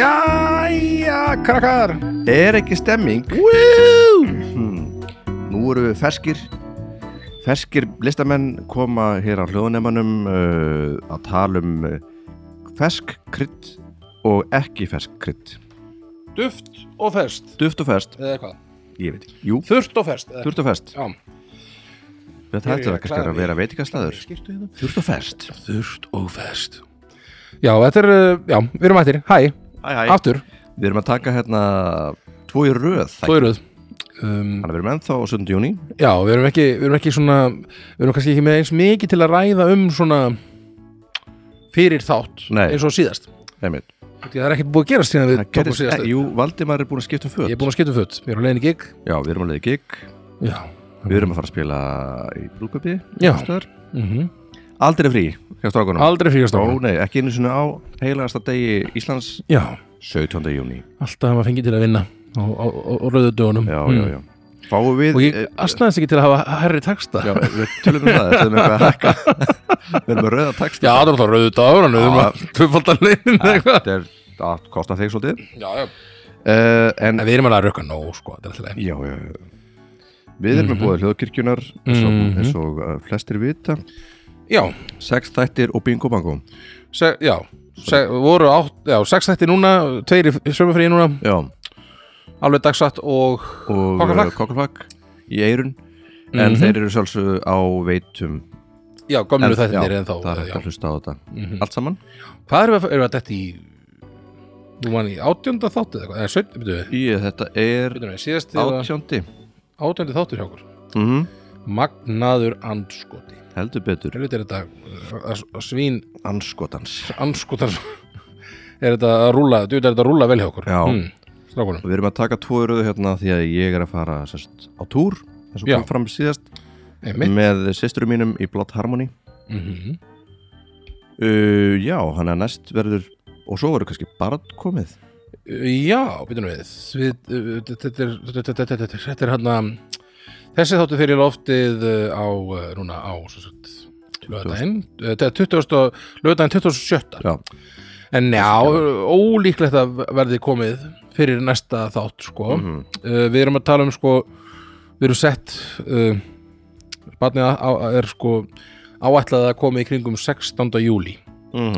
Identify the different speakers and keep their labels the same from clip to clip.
Speaker 1: Jæja, krakkar
Speaker 2: Er ekki stemming?
Speaker 1: Woo!
Speaker 2: Hmm. Nú eru við ferskir Ferskir listamenn koma hér á hljóðunemanum uh, að tala um uh, fersk krydd og ekki fersk krydd
Speaker 1: Duft og fest
Speaker 2: Duft og fersk,
Speaker 1: Eða hvað?
Speaker 2: ég veit ekki Jú,
Speaker 1: Þurft og fest eða-
Speaker 2: þurft og fersk
Speaker 1: Já.
Speaker 2: Þetta
Speaker 1: Ég
Speaker 2: hættur
Speaker 1: er
Speaker 2: að kannski
Speaker 1: glaður.
Speaker 2: að vera veitingastæður
Speaker 1: Skyrtu hérna.
Speaker 2: Þurft og fersk
Speaker 1: Þurft og fest Já, þetta er, uh, já, við erum ættir Hæ,
Speaker 2: Æ, æ,
Speaker 1: aftur,
Speaker 2: við erum að taka hérna tvo í röð þætti.
Speaker 1: þú eruð um,
Speaker 2: Þannig að við erum ennþá á 7. júni
Speaker 1: Já, við erum ekki, við erum ekki svona Við erum kannski ekki með eins mikið til að ræða um svona Fyrir þátt
Speaker 2: Nei.
Speaker 1: Eins og síðast
Speaker 2: Einmitt.
Speaker 1: Því að Það er ekkert búið að gerast síðan við
Speaker 2: Það
Speaker 1: tókum
Speaker 2: gerist,
Speaker 1: síðast
Speaker 2: eh, Jú, Valdimar er búin að skipta
Speaker 1: Ég
Speaker 2: um föt
Speaker 1: er búin að skipta um fött, ég er á leiðin í gig
Speaker 2: Já, við erum að leiði gig
Speaker 1: Já,
Speaker 2: Við erum að fara að spila í brúköpi
Speaker 1: Já.
Speaker 2: einhversstaðar.
Speaker 1: mm
Speaker 2: Aldrei frí hjá strákunum
Speaker 1: aldrei fríast
Speaker 2: Ó nei, ekki einu svona á heilagasta degi Íslands
Speaker 1: Já,
Speaker 2: 17. júni
Speaker 1: alltaf hafa fengið til að vinna á, á, á, á rauðu dögunum
Speaker 2: Já, já, já Fáum við
Speaker 1: Hmm. og ég
Speaker 2: eh,
Speaker 1: astnaðist ekki til að hafa herri taksta
Speaker 2: Já, við tölum um það, þetta er með eitthvað að hakka Við erum með rauða texta
Speaker 1: það er um alltaf rauðu dagur hann
Speaker 2: erum að
Speaker 1: tvöfaldan leiðin
Speaker 2: Þetta er að kosta þig svolítið
Speaker 1: Já, já
Speaker 2: uh, En,
Speaker 1: Eh, En við erum alveg að rökka nóg, sko, þetta er alltaf leið
Speaker 2: já, já, já Við erum með búið hljóðkirkjunar eins og,
Speaker 1: Mhm.
Speaker 2: eins og eh, flestir vita
Speaker 1: Já,
Speaker 2: Sex þættir og bingo bango
Speaker 1: se, já se, voru átt, já, sex þætti núna tveir í sömufríi núna,
Speaker 2: Já,
Speaker 1: alveg dagsatt og
Speaker 2: og
Speaker 1: Kokkarflakk.
Speaker 2: kokkarflakk í eirun En
Speaker 1: Mhm.
Speaker 2: þeir eru sjálfsögðu á veitum
Speaker 1: já, gömlu þættir
Speaker 2: já,
Speaker 1: en þá
Speaker 2: það er
Speaker 1: já.
Speaker 2: hægt að hlusta á þetta
Speaker 1: Mhm.
Speaker 2: Allt saman?
Speaker 1: Hvað erum við, að- erum við að detta í nú mann í átjönda þáttu eða eitthvað, eða sötn, byrjuðu við
Speaker 2: Í, þetta er
Speaker 1: byrjuðu við, síðast
Speaker 2: átjóndi
Speaker 1: átjöndi þáttur hjá okkur
Speaker 2: mm
Speaker 1: Magnaður andskoti
Speaker 2: Heldur betur
Speaker 1: Helviti er þetta uh, að svín
Speaker 2: Anskotans
Speaker 1: anskotar er þetta að rúla, djúið er þetta að rúla vel hjá okkur Hmm,
Speaker 2: Já.
Speaker 1: strákunum
Speaker 2: Við erum að taka tvo röðu hérna því að ég er að fara sest, á túr eins og
Speaker 1: Já.
Speaker 2: kom fram síðast
Speaker 1: einmitt
Speaker 2: með sýsturum mínum í Blott Harmony
Speaker 1: mm -hmm.
Speaker 2: uh, Já, hann er næst verður og svo verður kannski barn komið
Speaker 1: Já, býtum við Við, uh, þetta er- þetta er- þetta er- þetta er hann að þessi þáttu fyrir loftið uh, á uh, núna á sem sagt, lögudaginn Eh, þetta er 20. og- lögudaginn 27.
Speaker 2: Já,
Speaker 1: En já, ólíklegt að verði komið fyrir næsta þátt sko
Speaker 2: mm.
Speaker 1: uh, við erum að tala um sko við erum sett uh, barnið á- á- er sko áætlað að koma í kringum 16. júli
Speaker 2: Mm.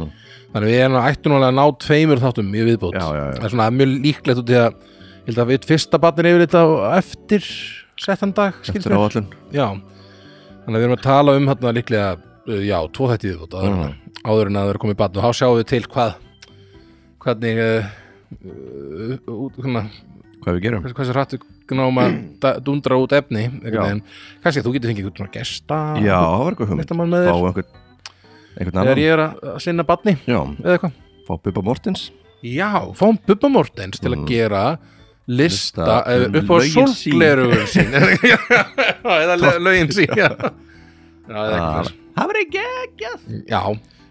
Speaker 1: þannig að við erum ættum alveg að ná tveimur þáttum í viðbót
Speaker 2: Já, já, já.
Speaker 1: það er svona mjög líklegt út í að ég held að við fyrsta barnið er yfirleitt á eftir settan dag skilst
Speaker 2: eftir
Speaker 1: mér.
Speaker 2: áallun
Speaker 1: já þannig að við erum að tala um hérna líklega uh, já, tvo þætti í viðbót áður,
Speaker 2: Mhm.
Speaker 1: en, áður en að það er komið barn og þá sjáum við til hvað hvernig uh, uh, út, svona,
Speaker 2: Hvað við gerum?
Speaker 1: hversu, hversu hrættu náum að da- dundra út efni
Speaker 2: Já.
Speaker 1: en kannski þú getur fengið einhvern svona gesta
Speaker 2: Já, það var eitthvað hugmynd
Speaker 1: listamann með
Speaker 2: Fá
Speaker 1: þér
Speaker 2: einhvern, einhvern
Speaker 1: þegar
Speaker 2: annan
Speaker 1: ég er að að sinna batni
Speaker 2: Já,
Speaker 1: eða eitthvað
Speaker 2: fá Bubba Mortens
Speaker 1: já, fáum Bubba Mortens til að
Speaker 2: Mm.
Speaker 1: gera lista,
Speaker 2: Lista
Speaker 1: lista
Speaker 2: um
Speaker 1: upp á
Speaker 2: lögin sín.
Speaker 1: solgleru sín Já, eða le- lögin sín já, Já, eða
Speaker 2: Það
Speaker 1: eitthvað
Speaker 2: það verður geggjað
Speaker 1: já,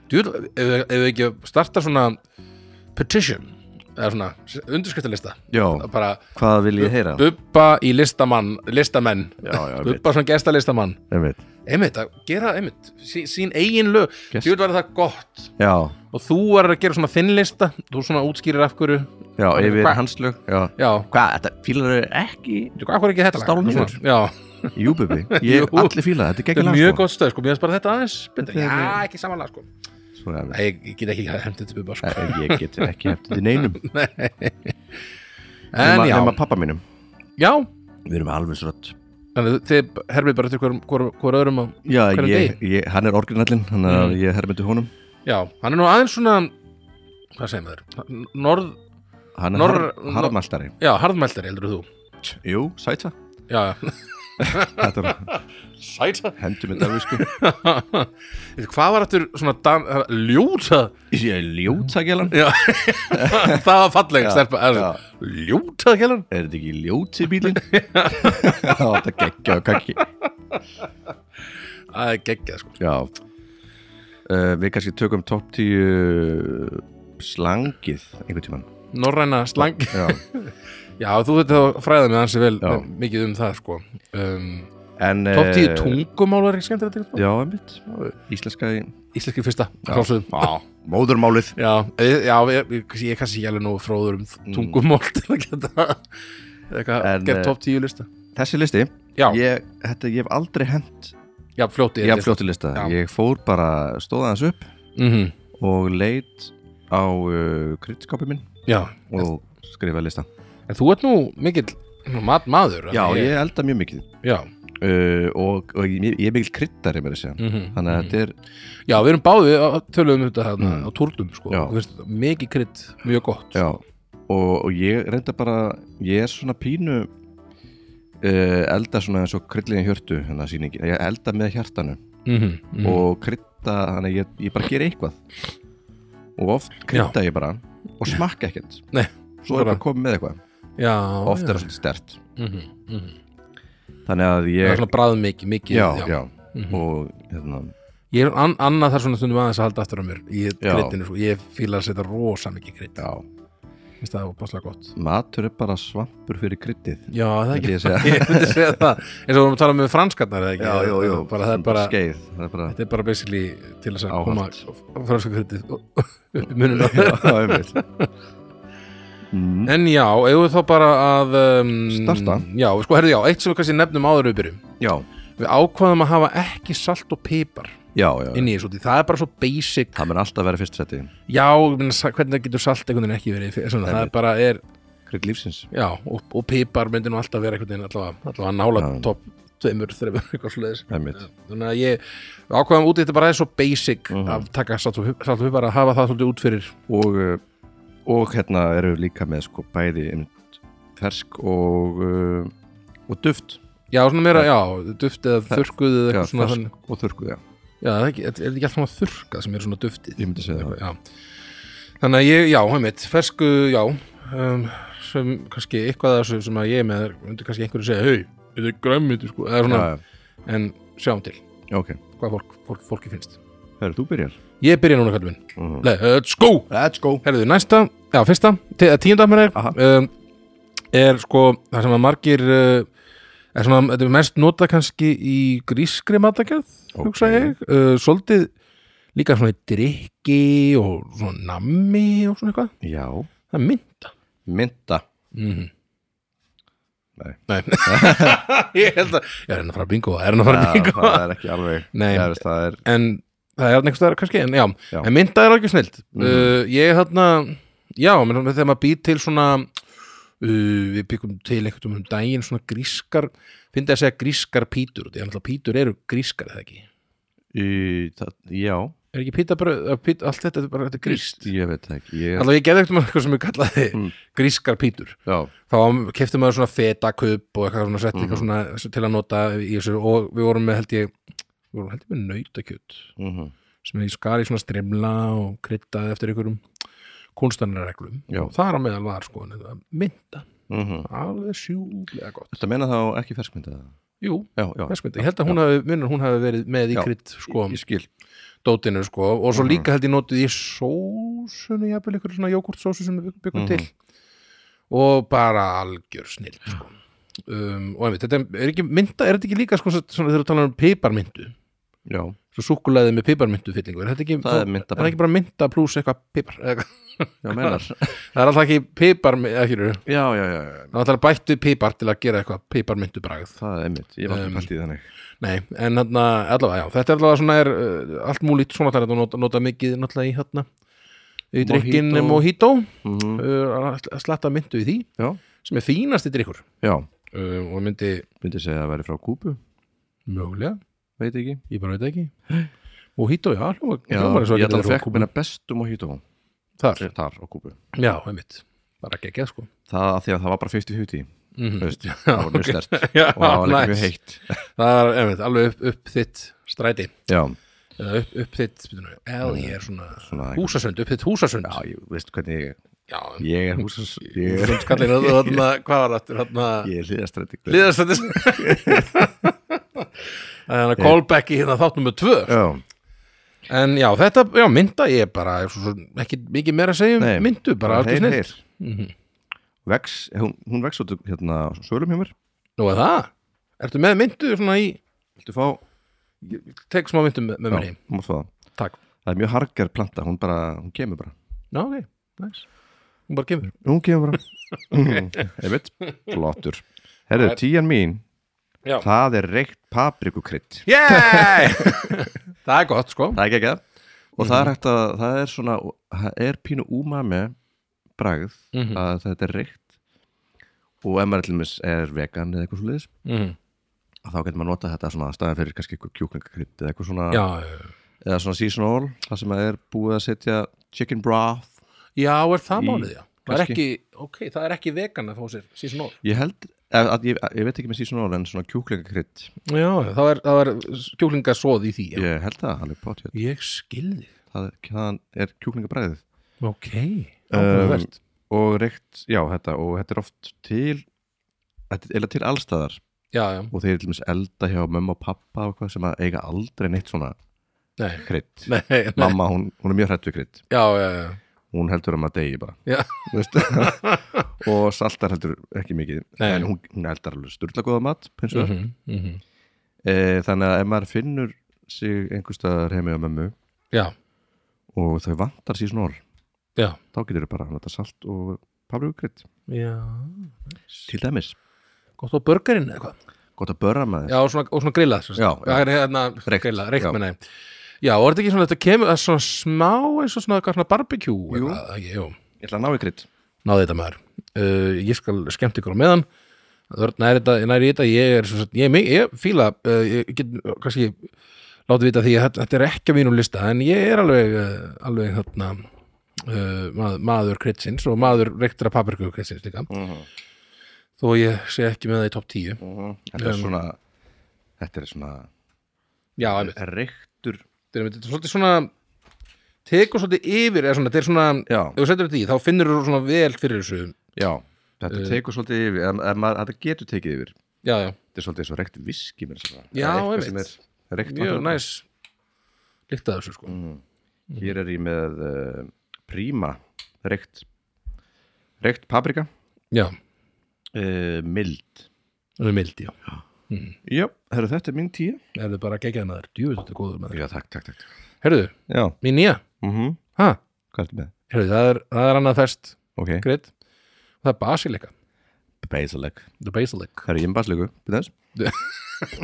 Speaker 1: djúl, ef við- ef við ekki starta svona petition eða svona undirskriftalista
Speaker 2: Já,
Speaker 1: bara
Speaker 2: hvað vil ég
Speaker 1: Uh,
Speaker 2: heyra?
Speaker 1: Bubba í listamann, listamenn
Speaker 2: Já, já, ég veit,
Speaker 1: Bubba svona gestalistamann
Speaker 2: ég veit
Speaker 1: einmitt, að gera einmitt sí, sín eigin lög,
Speaker 2: Gest-
Speaker 1: djúið var það gott
Speaker 2: Já,
Speaker 1: og þú var að gera svona þinnlista þú svona útskýrir af hverju
Speaker 2: já, yfir
Speaker 1: Hva-
Speaker 2: hans lög Já,
Speaker 1: já,
Speaker 2: Hvað, þetta fílar þau ekki?
Speaker 1: þú hvað er ekki þetta lag?
Speaker 2: Stál niður.
Speaker 1: Svona, já,
Speaker 2: Jú, bubi, ég
Speaker 1: Jú.
Speaker 2: allir fíla, þetta er
Speaker 1: þetta
Speaker 2: geggjað
Speaker 1: er
Speaker 2: lag,
Speaker 1: mjög
Speaker 2: sko.
Speaker 1: gott stöð sko, mér finnst bara þetta aðeins betra.
Speaker 2: Þetta
Speaker 1: já,
Speaker 2: er-
Speaker 1: ekki samanlega sko Nei,
Speaker 2: Svo er það.
Speaker 1: ég, ég get ekki hefndið til bubba sko
Speaker 2: Nei, eh, Ég get ekki hefði til neinum
Speaker 1: en já,
Speaker 2: Nefna pappa mínum
Speaker 1: já
Speaker 2: Við erum alveg srött
Speaker 1: þannig að þið herfið bara eftir hver, hver, hver öðrum og,
Speaker 2: Já,
Speaker 1: Hver er Mm.
Speaker 2: ég, ég, hann er orginallinn Þannig að ég hermyndi honum
Speaker 1: já, hann er nú aðeins svona hvað segir maður, norð
Speaker 2: Hann er
Speaker 1: Norr-
Speaker 2: har, harðmæltari
Speaker 1: já, harðmæltari heldur þú
Speaker 2: Jú, sæta
Speaker 1: já,
Speaker 2: Þetta er
Speaker 1: sæta
Speaker 2: hendur með dæfi sko
Speaker 1: hvað var aftur svona dan, ljóta
Speaker 2: Ég er ljótagjalan
Speaker 1: Já, það var falleg
Speaker 2: Já,
Speaker 1: stelpa
Speaker 2: já.
Speaker 1: er- Ljótað kjælan
Speaker 2: Er þetta ekki ljóti bílinn? Já, þetta geggja og kakki
Speaker 1: Það er geggjað sko
Speaker 2: Já uh, Við kannski tökum topp tíu slangið einhvern tímann
Speaker 1: Norræna slang
Speaker 2: Já
Speaker 1: Já, þú veit að fræða mig ansi vel
Speaker 2: Já.
Speaker 1: mikið um það sko um,
Speaker 2: en
Speaker 1: Top 10
Speaker 2: eh,
Speaker 1: tungumál var ekki skemmt að þetta
Speaker 2: já, einmitt, íslenska í-
Speaker 1: sko. Íslenski fyrsta,
Speaker 2: Já.
Speaker 1: hlásum Já,
Speaker 2: móðurmálið
Speaker 1: já, eh, já ég, ég, ég er kannski ekki alveg nú fróður um
Speaker 2: Mm.
Speaker 1: tungumál til að geta eitthvað,
Speaker 2: En, eh,
Speaker 1: gert top 10 lista
Speaker 2: þessi listi,
Speaker 1: Já,
Speaker 2: ég, þetta, ég hef aldrei hent
Speaker 1: já, fljóti
Speaker 2: ég hef fljótti lista,
Speaker 1: Já.
Speaker 2: ég fór bara stóða hans upp
Speaker 1: mm
Speaker 2: og leit á uh, kritiskapi minn
Speaker 1: Já,
Speaker 2: og skrifa lista
Speaker 1: en þú ert nú mikill mat maður
Speaker 2: já, ég elda mjög mikið
Speaker 1: já,
Speaker 2: uh, og, og ég, ég er mikil kryddari með þessi
Speaker 1: mm -hmm.
Speaker 2: þannig að þetta er
Speaker 1: já, við erum báði að tölum um þetta hérna,
Speaker 2: Mm.
Speaker 1: á tórnum sko,
Speaker 2: Já.
Speaker 1: Þú veist, mikið krydd, mjög gott
Speaker 2: já, og, og ég reynda bara ég er svona pínu uh, elda svona eins og kryddlegin hjörtu hérna sýningin, ég elda með hjartanu
Speaker 1: Mhm, mhm.
Speaker 2: og krydda, þannig að ég, ég bara gera eitthvað og oft krydda ég bara og smakka ekkert
Speaker 1: Nei,
Speaker 2: svo er
Speaker 1: bara-
Speaker 2: bara komið með eitthvað,
Speaker 1: já,
Speaker 2: oft
Speaker 1: já.
Speaker 2: er það svolítið stert
Speaker 1: mm -hmm, mm -hmm.
Speaker 2: þannig að
Speaker 1: Ég...
Speaker 2: ég
Speaker 1: það er svona bræð mikið, mikið
Speaker 2: já, já,
Speaker 1: Mhm.
Speaker 2: og hérna,
Speaker 1: Ég er an annað þar svona stundum aðeins að halda aftur á mér í
Speaker 2: Já.
Speaker 1: kryddinu, sko. ég fíla að setja rosa mikið krydd,
Speaker 2: já,
Speaker 1: finnst það opaslega gott
Speaker 2: matur er bara svampur fyrir kryddið
Speaker 1: Já, það er ekki,
Speaker 2: myndi ég segja.
Speaker 1: ég myndi segja það eins og við vorum að tala um franskarnar eða ekki bara, það er bara,
Speaker 2: skeið, það er bara
Speaker 1: þetta er bara basically til þess að
Speaker 2: Áhald.
Speaker 1: koma franska kryddið upp í munum
Speaker 2: Já, einmitt. Mm.
Speaker 1: En já, eigum við þá bara að um,
Speaker 2: Starta.
Speaker 1: Já, sko, herðu, já, eitt sem við kannski nefnum áður en við byrjum
Speaker 2: já,
Speaker 1: Við ákvaðum að hafa ekki salt og pipar
Speaker 2: já, já,
Speaker 1: inn í þessu, því það er bara svo basic
Speaker 2: það mun alltaf vera fyrst seti
Speaker 1: Já, ég meina, sa- hvernig getur salt einhvern veginn ekki verið svona, það er bara, er,
Speaker 2: krydd lífsins
Speaker 1: já, og, og pipar myndi nú alltaf vera einhvern veginn allavega, allavega nála
Speaker 2: Já.
Speaker 1: topp tveimur, þreimur, eitthvað svoleiðis
Speaker 2: einmitt,
Speaker 1: Þannig að ég við ákvaðum út í þetta bara er svo basic
Speaker 2: Mhm.
Speaker 1: að taka salt og, pi- salt og pipar að hafa það svolítið út fyrir
Speaker 2: og, uh, og hérna eru líka með sko bæði einmitt fersk og uh, og duft
Speaker 1: Já, svona meira, já, duft eða
Speaker 2: Fer-
Speaker 1: þurrkuð eða
Speaker 2: já,
Speaker 1: eitthvað svona þannig
Speaker 2: fersk og þurrkuð, já,
Speaker 1: Já, það er ekki, er þetta ekki alltaf svona þurrkað sem er svona duftið
Speaker 2: ég myndi segja það
Speaker 1: Já. Þannig að ég, já, heimitt, fersku, já um, sem kannski eitthvað af þessu sem að ég er með er, myndi kannski einhverju segja, hei, þetta er græmmit sko, eða svona,
Speaker 2: já,
Speaker 1: en sjáum til
Speaker 2: já, ok,
Speaker 1: hvað fólk, fólk, fólki finnst
Speaker 2: herru, þú byrjar
Speaker 1: Ég byrja núna, kallum minn,
Speaker 2: Mhm.
Speaker 1: let's go
Speaker 2: let's go
Speaker 1: Herðu, næsta, já, fyrsta, te- eh, tíunda mér er,
Speaker 2: Aha.
Speaker 1: um, er sko, það sem að margir uh, er svona, þetta er mest nota kannski í grískri matagerð
Speaker 2: Ok.
Speaker 1: hugsa ég, uh, svolítið líka svona í drikki og svona nammi og svona eitthvað
Speaker 2: já,
Speaker 1: það er mynda
Speaker 2: mynda
Speaker 1: mm -hmm.
Speaker 2: Nei.
Speaker 1: ég held að ég er henni að fara að bingo, það er henni að fara að
Speaker 2: Já,
Speaker 1: bingo
Speaker 2: það er ekki alveg
Speaker 1: Nei.
Speaker 2: það er- það er
Speaker 1: en það er hann einhvers staðar kannski en, já.
Speaker 2: Já.
Speaker 1: en mynda er alveg snild
Speaker 2: Mhm.
Speaker 1: uh, ég þarna, já, menn, þegar maður býr til svona uh, við byggum til einhvern um daginn svona grískar fyndi að segja grískar pítur því að náttúrulega pítur eru grískar eða ekki
Speaker 2: í- það- já,
Speaker 1: er ekki píta bara, pít, allt þetta er bara þetta er grískt
Speaker 2: ég veit það ekki ég,
Speaker 1: Alltaf ég gerði ekkert um eitthvað sem ég kallaði
Speaker 2: Mm.
Speaker 1: grískar pítur
Speaker 2: já,
Speaker 1: þá kefti maður svona fetakup og eitthvað svona sett eitthvað
Speaker 2: Mhm.
Speaker 1: svona til að nota í þessu og við vorum með held ég við vorum held ég með nautakjöt
Speaker 2: mhm
Speaker 1: sem ég skar í svona strimla og kryddaði eftir einhverjum kunstanarreglum
Speaker 2: Já.
Speaker 1: og þar á meðal var sko þetta mynda,
Speaker 2: Mm
Speaker 1: alveg sjúlega gott
Speaker 2: Þetta meina þá ekki ferskmynda?
Speaker 1: Jú,
Speaker 2: Já, já,
Speaker 1: ferskmynd, ég held að hún hafi, munur, hún hafi verið með í
Speaker 2: Já.
Speaker 1: krydd sko,
Speaker 2: ég skil
Speaker 1: dótinu sko og svo
Speaker 2: Mhm.
Speaker 1: líka held ég notið í sósunni, jafnvel einhverju svona jógurtsósu sem við byggum
Speaker 2: Mhm.
Speaker 1: til og bara algjör snill sko. um, og einmitt, þetta er ekki mynda, er þetta ekki líka sko, svona þegar þú talar um piparmyndu
Speaker 2: Já,
Speaker 1: svo súkulaði með piparmyndu fyllingu er þetta ekki,
Speaker 2: það er mynda
Speaker 1: er það
Speaker 2: bara
Speaker 1: ekki bara mynda pluss eitthvað pipar eða eitthvað
Speaker 2: Já, meinar
Speaker 1: Það er alltaf ekki pipar, eða ekki, það
Speaker 2: Já, já, já, já,
Speaker 1: er alltaf bættu pipar til að gera eitthvað piparmyndubræð.
Speaker 2: það er einmitt Ég var
Speaker 1: Um,
Speaker 2: ekki pælt í þannig
Speaker 1: Nei, en þarna, allavega, já, þetta er allavega svona er uh, allt múlít svona þar að nota, nota mikið náttúrulega í hérna í drikkin
Speaker 2: Mojito.
Speaker 1: mojito,
Speaker 2: mm
Speaker 1: uh, að slatta myndu í því,
Speaker 2: Já,
Speaker 1: sem er fínasti drikkur
Speaker 2: já,
Speaker 1: uh, og myndi
Speaker 2: myndi segja að væri frá Kúbu,
Speaker 1: mögulega,
Speaker 2: veit ekki
Speaker 1: ég bara veit ekki mojito, já, hljóma,
Speaker 2: Já,
Speaker 1: hljóma
Speaker 2: ég ætla
Speaker 1: það
Speaker 2: að fekk minna bestum og hýtum
Speaker 1: þar,
Speaker 2: Þar á Kúbu
Speaker 1: já, einmitt bara geggjað, sko
Speaker 2: Það að því að það var bara 50-50
Speaker 1: mm
Speaker 2: þú veist, Það var mjög stert
Speaker 1: já,
Speaker 2: Og það var líka mjög
Speaker 1: nice.
Speaker 2: heitt
Speaker 1: það er, einmitt, alveg upp, upp þitt stræti
Speaker 2: Já,
Speaker 1: eða upp, upp þitt spytunum, eða ég er svona,
Speaker 2: svona
Speaker 1: húsasund, upp þitt húsasund
Speaker 2: Já, ég veist hvernig ég,
Speaker 1: já
Speaker 2: ég er húsas Ég er,
Speaker 1: húsasund skallin og þarna, hvað var aftur þarna,
Speaker 2: ég er hlýðastrætti
Speaker 1: liðastættis þannig að callback í hérna þáttum með tvö
Speaker 2: Já,
Speaker 1: en já, þetta, já, mynda ég bara er svo, svo, ekki mikið meira að segja um
Speaker 2: Nei.
Speaker 1: myndu, bara Mhm. alveg
Speaker 2: heyr,
Speaker 1: snill
Speaker 2: heyr Vex, hún, hún vex út hérna á sölum hjá mér
Speaker 1: nú er það, Ertu með myndu svona í
Speaker 2: Viltu fá?
Speaker 1: Tek smá myndu með, með mér
Speaker 2: Já,
Speaker 1: heim
Speaker 2: þú mátt fá það.
Speaker 1: Takk.
Speaker 2: Það er mjög harger planta, hún bara, hún kemur bara.
Speaker 1: Já, ok, næs Hún bara Mhm. kemur
Speaker 2: Hún kemur bara. okay. Einmitt, flottur. Herðu, tíjan mín,
Speaker 1: Já.
Speaker 2: það er reykt paprikukrydd.
Speaker 1: Yeah! það er gott, sko
Speaker 2: Það er ekki ekki. Og það er
Speaker 1: Mhm.
Speaker 2: hægt að, það er svona, það er pínu umami bragð
Speaker 1: Mhm.
Speaker 2: að þetta er reykt og ef maður allumis er vegan eða eitthvað svo liðis,
Speaker 1: mm.
Speaker 2: þá getur maður notað þetta svona staðan fyrir kannski eitthvað kjúklingakrydd eða eitthvað svona
Speaker 1: Já, já, já.
Speaker 2: eða svona seasonal, það sem að er búið að setja chicken broth
Speaker 1: já, er það
Speaker 2: Í-
Speaker 1: málið, já Það er
Speaker 2: kannski.
Speaker 1: ekki, ok, það er ekki vegan að fá sér síðan orð
Speaker 2: ég held, að, að, ég, ég veit ekki með seasonal en svona kjúklingakrydd
Speaker 1: Já, það er, það er kjúklingasóð í því já.
Speaker 2: ég held það, alveg pott
Speaker 1: Ég skilði
Speaker 2: það hvaðan er kjúklingabræðið
Speaker 1: Ok, ákveðvert
Speaker 2: og reykt, já þetta, og þetta er oft til þetta er eiginlega til allstaðar
Speaker 1: Já, já,
Speaker 2: og þeir er til dæmis elda hjá mömmu og pappa og hvað sem að eiga aldrei neitt svona
Speaker 1: nei,
Speaker 2: krydd,
Speaker 1: nei, nei.
Speaker 2: mamma hún, hún er mjög hrætt við krydd
Speaker 1: Já, já, já
Speaker 2: hún heldur um að maður degi bara
Speaker 1: Já.
Speaker 2: Veist? og saltar heldur ekki mikið
Speaker 1: Nei.
Speaker 2: en hún, hún eldar alveg styrla góða mat mm
Speaker 1: Mm
Speaker 2: -hmm.
Speaker 1: -hmm,
Speaker 2: e, þannig að ef maður finnur sig einhverstaðar heimi á mömmu
Speaker 1: Já,
Speaker 2: og þau vantar sér snor
Speaker 1: Já.
Speaker 2: þá getur þau bara að nota salt og paprikukrydd
Speaker 1: já
Speaker 2: til dæmis,
Speaker 1: Gott á burgerinn eða hvað
Speaker 2: gott að börra maður
Speaker 1: Já, og svona, og svona grillað sem sagt.
Speaker 2: Já, já.
Speaker 1: Það er hérna
Speaker 2: Reykt,
Speaker 1: grillað,
Speaker 2: já.
Speaker 1: reykt með neim Já, og er þetta ekki svona, þetta kemur það er svona smá eins og svona, eitthvað svona barbecue
Speaker 2: Jú.
Speaker 1: eitthvað, það ekki, Jú,
Speaker 2: ég ætla að ná í krydd
Speaker 1: náði þetta maður uh, Ég skal skemmt ykkur á meðan Örn er þetta, næri þetta, ég er svona, ég, ég, ég fíla, uh, ég get uh, kannski látið vita því að þetta- þetta er ekki á mínum lista, en ég er alveg uh, alveg þarna uh, maður, maður kritsins og maður reyktra papriku kritsins líka,
Speaker 2: mm
Speaker 1: þó ég sé ekki með það í topp 10
Speaker 2: þetta er
Speaker 1: Um.
Speaker 2: svona þetta er svona
Speaker 1: Já, einmitt,
Speaker 2: reyktur
Speaker 1: þetta er einmitt- þetta er svolítið svona tekur svolítið yfir, eða svona, þetta er svona
Speaker 2: já,
Speaker 1: ef þú setur þetta í, þá finnur þú svona vel fyrir þessu
Speaker 2: já, þetta Eh. tekur svolítið yfir en, en maður, þetta getur tekið yfir
Speaker 1: Já, já,
Speaker 2: þetta er svolítið svo reykt viski mér sem það.
Speaker 1: Já,
Speaker 2: Það er eitthvað
Speaker 1: einmitt.
Speaker 2: sem er- það er reykt
Speaker 1: mjög
Speaker 2: vatn.
Speaker 1: næs líktað þessu sko
Speaker 2: mm. hér er ég með uh, príma reykt reykt paprika
Speaker 1: Já,
Speaker 2: uh, mild
Speaker 1: það er mildi, já
Speaker 2: já, herru, þetta er mín tíu
Speaker 1: Ef þið bara geggjað með þér, djúið þetta er góður með þér
Speaker 2: já, takk, takk, takk
Speaker 1: Herðu,
Speaker 2: já,
Speaker 1: mín nýja,
Speaker 2: mm
Speaker 1: ha,
Speaker 2: hvað ertu með?
Speaker 1: herðu, það er, það er annað fest
Speaker 2: ok,
Speaker 1: greitt, það er basilika
Speaker 2: basileg
Speaker 1: the basilic
Speaker 2: herru, ég er með basilegu, byrðu þess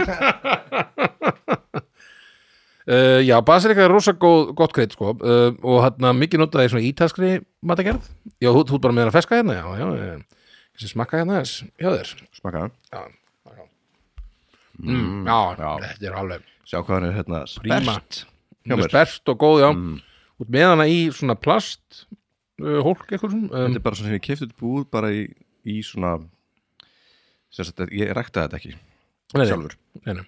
Speaker 1: uh, Já, basilika er rosa góð, gott greitt sko uh, og hann mikið notaði í svona ítalskri matagerð Já, þú, þú ert bara með þér að feska hérna, já, já, já þessi smakka hérna þess, hjá þér
Speaker 2: smaka,
Speaker 1: Já, já, mm, já,
Speaker 2: já.
Speaker 1: þetta er alveg
Speaker 2: sjá hvað hann er hérna
Speaker 1: Príma.
Speaker 2: sperrt hjá
Speaker 1: hún
Speaker 2: mér.
Speaker 1: er sperrt og góð, já út með hana í svona plast uh, hólk eitthvað svona
Speaker 2: þetta
Speaker 1: um,
Speaker 2: er bara svona sem ég kefti þetta búð bara í, í svona sem sagt, ég ræktaði þetta ekki
Speaker 1: nei, nei,
Speaker 2: sjálfur
Speaker 1: nei, nei.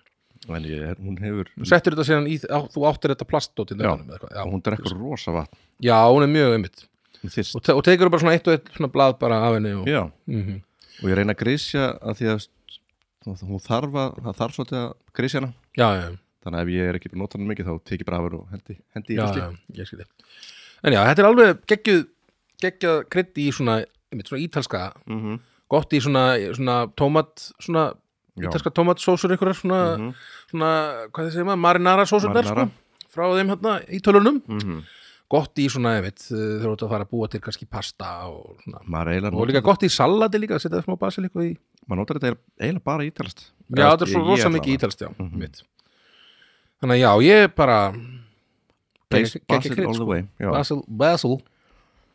Speaker 2: en ég, hún hefur
Speaker 1: Þú settur þetta síðan í, á, þú áttir þetta plastdót í nefnum eða eitthvað,
Speaker 2: og
Speaker 1: Mm. já.
Speaker 2: hún drekkur rosa vatn
Speaker 1: já, hún er mjög einmitt
Speaker 2: hún þyrst
Speaker 1: og, te og tekur bara svona eitt og eitt svona blað bara af henni og,
Speaker 2: já,
Speaker 1: mm -hmm.
Speaker 2: og ég reyna að grísja að því að st- hún þarf að, það þarf svolítið að grísja hana
Speaker 1: já, já,
Speaker 2: þannig að ef ég er ekki búin að nota hann mikið þá tek ég bara af henni og hendi, hendi í
Speaker 1: já,
Speaker 2: ruslið.
Speaker 1: já, ég skil þig en já, þetta er alveg geggjuð geggjað krydd í svona, einmitt, svona ítalska
Speaker 2: Mhm.
Speaker 1: gott í svona, svona tómat svona
Speaker 2: Já.
Speaker 1: ítalska tómatsósur einhverjar svona, svona, hvað þið segir maður, Mhm. marinara sósur þar sko,
Speaker 2: Marinara.
Speaker 1: frá þeim hérna í tölunum
Speaker 2: Mhm.
Speaker 1: gott í svona, ég veit, þegar þú ert að fara að búa til kannski pasta og svona
Speaker 2: maður eiginlega
Speaker 1: og líka
Speaker 2: notar-
Speaker 1: gott í salati líka, að setja smá basiliku í
Speaker 2: maður notar þetta eiginlega bara ítalast
Speaker 1: já, þetta er svo rosa mikið ítalst, já,
Speaker 2: Mhm.
Speaker 1: mitt þannig að já, ég bara
Speaker 2: Basil,
Speaker 1: Gekk- gekk-
Speaker 2: basil
Speaker 1: gekk-
Speaker 2: all the way já.
Speaker 1: Basil, Basil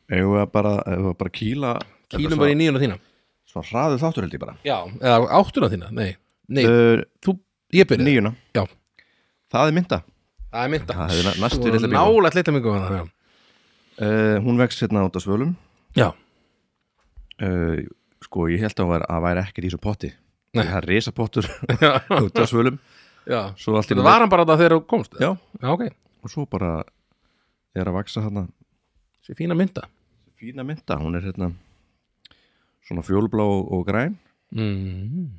Speaker 2: ef við bara, ef við bara kýla
Speaker 1: kýlum bara í nýjuna þína
Speaker 2: svona hraðu þáttur held ég bara
Speaker 1: já, eða áttuna þína, nei, nei
Speaker 2: uh,
Speaker 1: þú, ég byrja,
Speaker 2: nýjuna
Speaker 1: Já.
Speaker 2: það er mynda
Speaker 1: það er mynda
Speaker 2: Það hefði na- næstu
Speaker 1: Þú voru
Speaker 2: litla bingó.
Speaker 1: nálægt litla mingu já,
Speaker 2: uh, hún vext hérna út af svölum
Speaker 1: já,
Speaker 2: uh, sko ég held að hún væri, að væri ekkert í þessu potti
Speaker 1: Nei.
Speaker 2: það er risapottur
Speaker 1: já,
Speaker 2: út af svölum
Speaker 1: já.
Speaker 2: svo allt í
Speaker 1: Þetta
Speaker 2: einu-
Speaker 1: var hann bara það þegar þú komst
Speaker 2: Já.
Speaker 1: já ok,
Speaker 2: og svo bara er að vaksa hérna
Speaker 1: þessi fína mynda
Speaker 2: fína mynda, hún er hérna svona fjólblá og, og græn
Speaker 1: mm,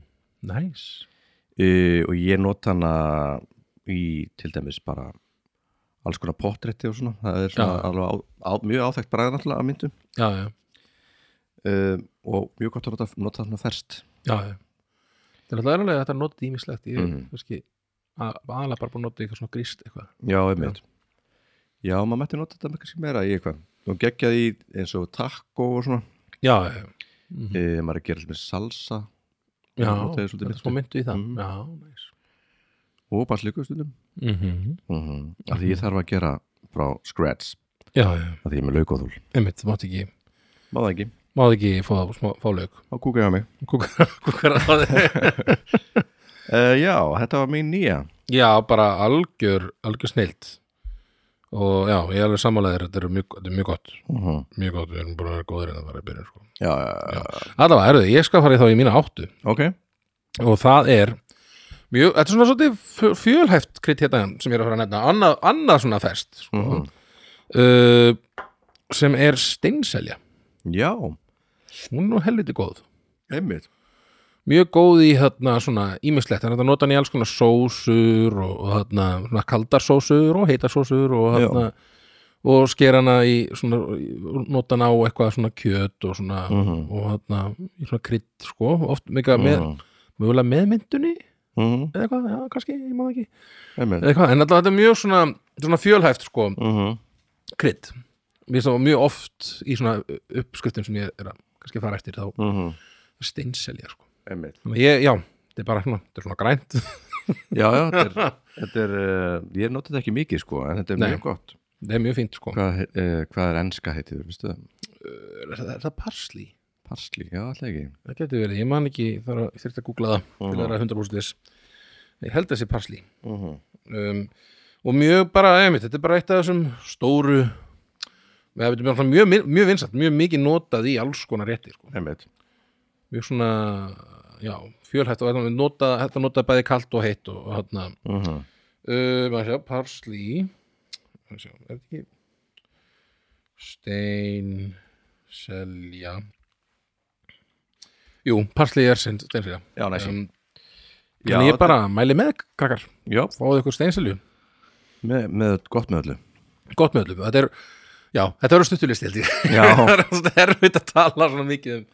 Speaker 1: nice
Speaker 2: uh, og ég nota hana í til dæmis bara alls konar pottrétti og svona það er svona
Speaker 1: Já.
Speaker 2: alveg á, á, mjög áþægt bræðan alltaf að myndum Eh,
Speaker 1: já, já,
Speaker 2: uh, og mjög gott að nota, nota hana ferst
Speaker 1: já, já Það er alltaf erlega þetta að nota þetta ímislegt Ég er
Speaker 2: Mhm.
Speaker 1: kannski að- aðalega bara búin að nota eitthvað svona gríst eitthvað
Speaker 2: Já, einmitt. Já, maður mætti nota þetta með kannski meira í eitthvað. Þú geggjað í eins og taco og svona.
Speaker 1: Já, já, já. Mhm.
Speaker 2: Mm. maður er að gera svolítið salsa
Speaker 1: já
Speaker 2: það notaði
Speaker 1: þetta
Speaker 2: svolítið
Speaker 1: er
Speaker 2: myntu.
Speaker 1: smá myndu í það
Speaker 2: Mhm.
Speaker 1: Já, næs
Speaker 2: og baslíku stundum.
Speaker 1: Mhm.
Speaker 2: Mm Af því ég þarf að gera frá scratch.
Speaker 1: Já, já,
Speaker 2: Af því ég er með laukóðul.
Speaker 1: einmitt, þú mátt ekki
Speaker 2: Má það ekki.
Speaker 1: Mátt ekki fá, smá, fá lög
Speaker 2: Þá kúka ég á mig.
Speaker 1: Kúkar að það
Speaker 2: Uh, já, þetta var mín nýja.
Speaker 1: Já, bara algjör, algjör snilt og já, ég er alveg sammálaðir þetta er mjög, þetta er mjög gott,
Speaker 2: Mm -hmm.
Speaker 1: mjög gott við erum bara góðir en það var að byrja sko.
Speaker 2: Já, já, já.
Speaker 1: Allavega, erðu, ég skal fara í þá í mína áttu
Speaker 2: Ok.
Speaker 1: og það er mjög, þetta er svona svolítið fjö- fjölhæft krydd hérna sem ég er að fara að nefna annað, annað svona fest sko,
Speaker 2: Mhm.
Speaker 1: uh, sem er steinselja
Speaker 2: Já,
Speaker 1: hún er nú helviti góð
Speaker 2: einmitt.
Speaker 1: mjög góð í þarna svona ímislegt, þannig að nota hann í alls konar sósur og, og þarna svona kaldar sósur og heitar sósur og
Speaker 2: Já.
Speaker 1: þarna og sker hana í svona nota hana á eitthvað svona kjöt og svona
Speaker 2: Mhm.
Speaker 1: og þarna í svona krydd sko oft mega með, mögulega með myndunni
Speaker 2: Mhm,
Speaker 1: eða eitthvað, já kannski, ég maður ekki
Speaker 2: Einmitt.
Speaker 1: eða eitthvað, en alltaf þetta er mjög svona, svona fjölhæft sko
Speaker 2: Mhm.
Speaker 1: krydd mér finnst það mjög oft í svona uppskriftum sem ég er að kannski fara eftir þá
Speaker 2: Mhm.
Speaker 1: steinselja sko
Speaker 2: Einmitt.
Speaker 1: Þannig að ég, já, þetta er bara svona, þetta er svona grænt
Speaker 2: Já, já, þetta er, þetta er uh, ég nota þetta ekki mikið sko, en þetta er
Speaker 1: Nei.
Speaker 2: mjög gott.
Speaker 1: Það er mjög fínt sko
Speaker 2: Hvað, uh, hvað er enska heitið, veistu það?
Speaker 1: Er það, er það parslí?
Speaker 2: Parsli, já, alltaf ekki.
Speaker 1: Það getur verið, ég man ekki þarf þurft að googla það til að vera 100% þess Ég held að sé parslí
Speaker 2: Uh -huh.
Speaker 1: um, Og mjög bara, einmitt, þetta er bara eitt af þessum stóru Við hefum bara mjög, mjög, mjög vinsætt, mjög mikið notað í alls konar rétti sko.
Speaker 2: Einmitt.
Speaker 1: Mjög svona, já, fjölhætt og þetta notað, þetta notað bæði kalt og heitt og, og þarna
Speaker 2: Uh -huh.
Speaker 1: Uh, maður sjá, parslí maður sjá, er þetta ekki stein selja jú, parslí er stein selja
Speaker 2: Já, næsi.
Speaker 1: um,
Speaker 2: Já,
Speaker 1: já, ég
Speaker 2: þetta-
Speaker 1: bara mæli með krakkar
Speaker 2: Já,
Speaker 1: fáðu ykkur steinselju,
Speaker 2: með, með gott með öllu.
Speaker 1: gott með öllum þetta er, já, þetta eru stuttulist held ég það
Speaker 2: Já,
Speaker 1: er svona erfitt að tala svona mikið um,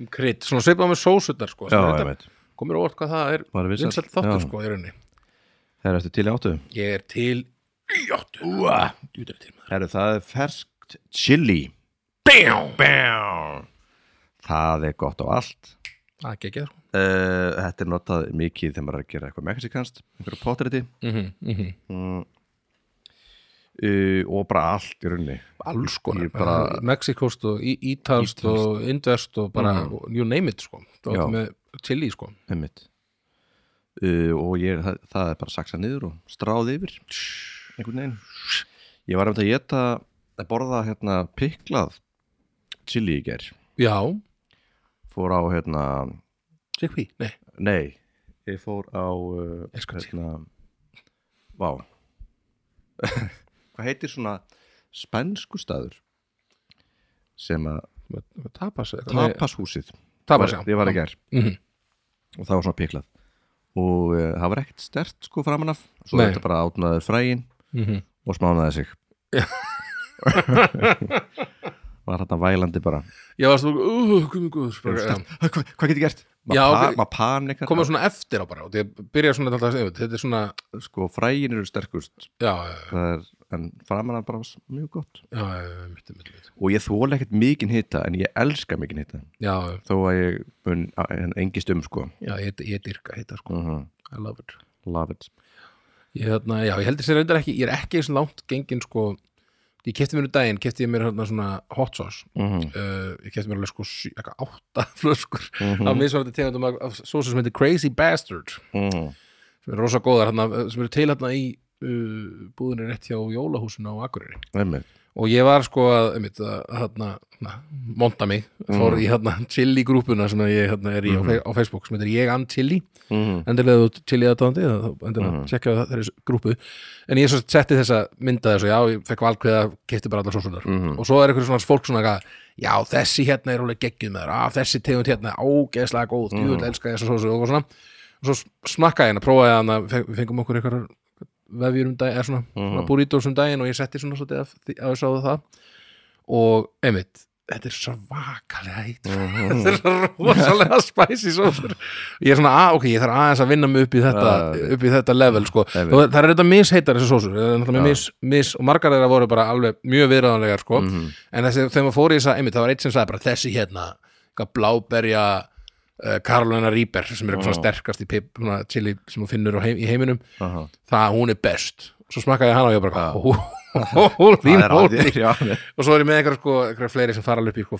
Speaker 1: um krydd, svona svipað með sósutnar sko, sem
Speaker 2: já,
Speaker 1: er reyndar-
Speaker 2: einmitt.
Speaker 1: komur óvart hvað það er
Speaker 2: Bara vinsæll,
Speaker 1: vinsæll þáttur
Speaker 2: já.
Speaker 1: sko í rauninni
Speaker 2: Það er eftir til í áttu.
Speaker 1: ég er til í áttu Úa, djútur til maður
Speaker 2: Herru, það er ferskt chili.
Speaker 1: Bam!
Speaker 2: Bam! Það er gott á allt.
Speaker 1: Það er geggjað sko
Speaker 2: Uh, þetta er notað mikið þegar maður er að gera eitthvað mexikanst, einhverju potræti
Speaker 1: mhm, mhm
Speaker 2: mm. uh, og bara allt í rauninni.
Speaker 1: alls konar,
Speaker 2: Ég bara-
Speaker 1: Mexikost og Í- Ítalst og Indvest og bara,
Speaker 2: Mhm.
Speaker 1: og you name it sko það
Speaker 2: Já.
Speaker 1: var með chili sko
Speaker 2: Einmitt. Uh, og ég, það, það er bara saksa niður og stráð yfir einhvern veginn ég var um að geta að borða hérna piklað chili í ger
Speaker 1: já,
Speaker 2: fór á hérna
Speaker 1: chickpea, nei,
Speaker 2: nei, ég fór á uh,
Speaker 1: Elskar chili.
Speaker 2: hérna vá hvað heitir svona spænsku staður sem að
Speaker 1: Hvað- tapas eða eitthvað? Nei,
Speaker 2: tapashúsið
Speaker 1: tapas, já
Speaker 2: Var- ég var í ger
Speaker 1: Mhm.
Speaker 2: og það var svona piklað og uh, það var ekkert stert sko framan af svo
Speaker 1: Nei.
Speaker 2: þetta bara átnaður fræin
Speaker 1: Mhm.
Speaker 2: og smánaði sig var hérna vælandi bara
Speaker 1: ég var svona, uh, komið góður bara, já.
Speaker 2: Hva, hva, hvað get ég gert?
Speaker 1: Já,
Speaker 2: maður pa,
Speaker 1: ok.
Speaker 2: ma panikar
Speaker 1: komið svona eftir á bara og ég byrja svona alltaf, að segja, þetta er svona
Speaker 2: sko fræin eru sterkust
Speaker 1: já, já,
Speaker 2: Það er, en framan af bara s- mjög gott
Speaker 1: já, já, mitt, mitt, mitt
Speaker 2: og ég þóla ekkert mikinn hita en ég elska mikinn hita
Speaker 1: já,
Speaker 2: þó að ég mun a- en engist um sko
Speaker 1: já, ég, ég dyrka heita sko,
Speaker 2: uh
Speaker 1: I love it
Speaker 2: love it
Speaker 1: Ég, hérna, já, ég heldur sér reyndar ekki, ég er ekki eins langt gengin sko, ég kefti mér um daginn kefti ég mér hérna svona hot sauce
Speaker 2: uh
Speaker 1: uh, ég kefti mér alveg sko sjö- eitthvað átta flöskur af mismunandi tegundum af, af sósu sem heitir Crazy Bastard
Speaker 2: Mm.
Speaker 1: sem er rosa góðar, hana, sem eru til hérna í uh, búðinni rétt hjá jólahúsinu á Akureyri og ég var sko að, einmitt, að hérna, na, monta mig, fór í hérna chili grúpuna sem að ég hérna, er í á, fe- á Facebook sem heitir Ég Ann Chili
Speaker 2: Mm.
Speaker 1: endilega þú chili aðdáðandi endilega mm
Speaker 2: Mhm.
Speaker 1: -hmm. tjekkaðu það- þeirri grúpu en ég svo setti þessa mynda þessu já, ég fekk valkveða, kefti bara allar sósunar
Speaker 2: Mhm.
Speaker 1: og svo er einhver svona fólk svona eitthvað, já, þessi hérna er alveg geggjuð með þér af þessi tegund hérna, er ógeðslega góð mm -hmm. djúvel elska þessa sósu og svona og svo smakkaði hérna, prófaði hérna við fengum okkur einhverjar vefjur um daginn eða svona, mm -hmm. svona burritos um daginn og ég setti svona svolítið af, því- af þessu á það og einmitt þetta er svakalega heitt
Speaker 2: Mhm.
Speaker 1: þetta er svo rosalega spicy sósur ég er svona, að, ok, ég þarf aðeins að vinna mig upp í þetta,
Speaker 2: Já, já,
Speaker 1: upp í þetta level sko.
Speaker 2: Ah, Einmitt.
Speaker 1: Þú- það er þetta misheitar þessi sósur það er náttúrulega
Speaker 2: Já.
Speaker 1: mis, mis, og margar þeirra voru bara alveg mjög viðræðanlegar sko.
Speaker 2: Mhm.
Speaker 1: en þessi, þegar maður fór í þess að, einmitt, það var eitt sem sagði bara þessi hérna, eitthvað bláberja uh, Karolina Rýber sem er eitthvað svona
Speaker 2: Já.
Speaker 1: sterkast í pip, svona chili sem hún finnur á heim, í heiminum,
Speaker 2: Aha.
Speaker 1: það hún er best svo smakaði ég hana og ég bara
Speaker 2: Já.
Speaker 1: hú, hú, hú,
Speaker 2: Það
Speaker 1: þín
Speaker 2: er
Speaker 1: hóti
Speaker 2: allir, já,
Speaker 1: og svo er ég með einhverja sko, einhverja fleiri sem fara alveg upp í sko,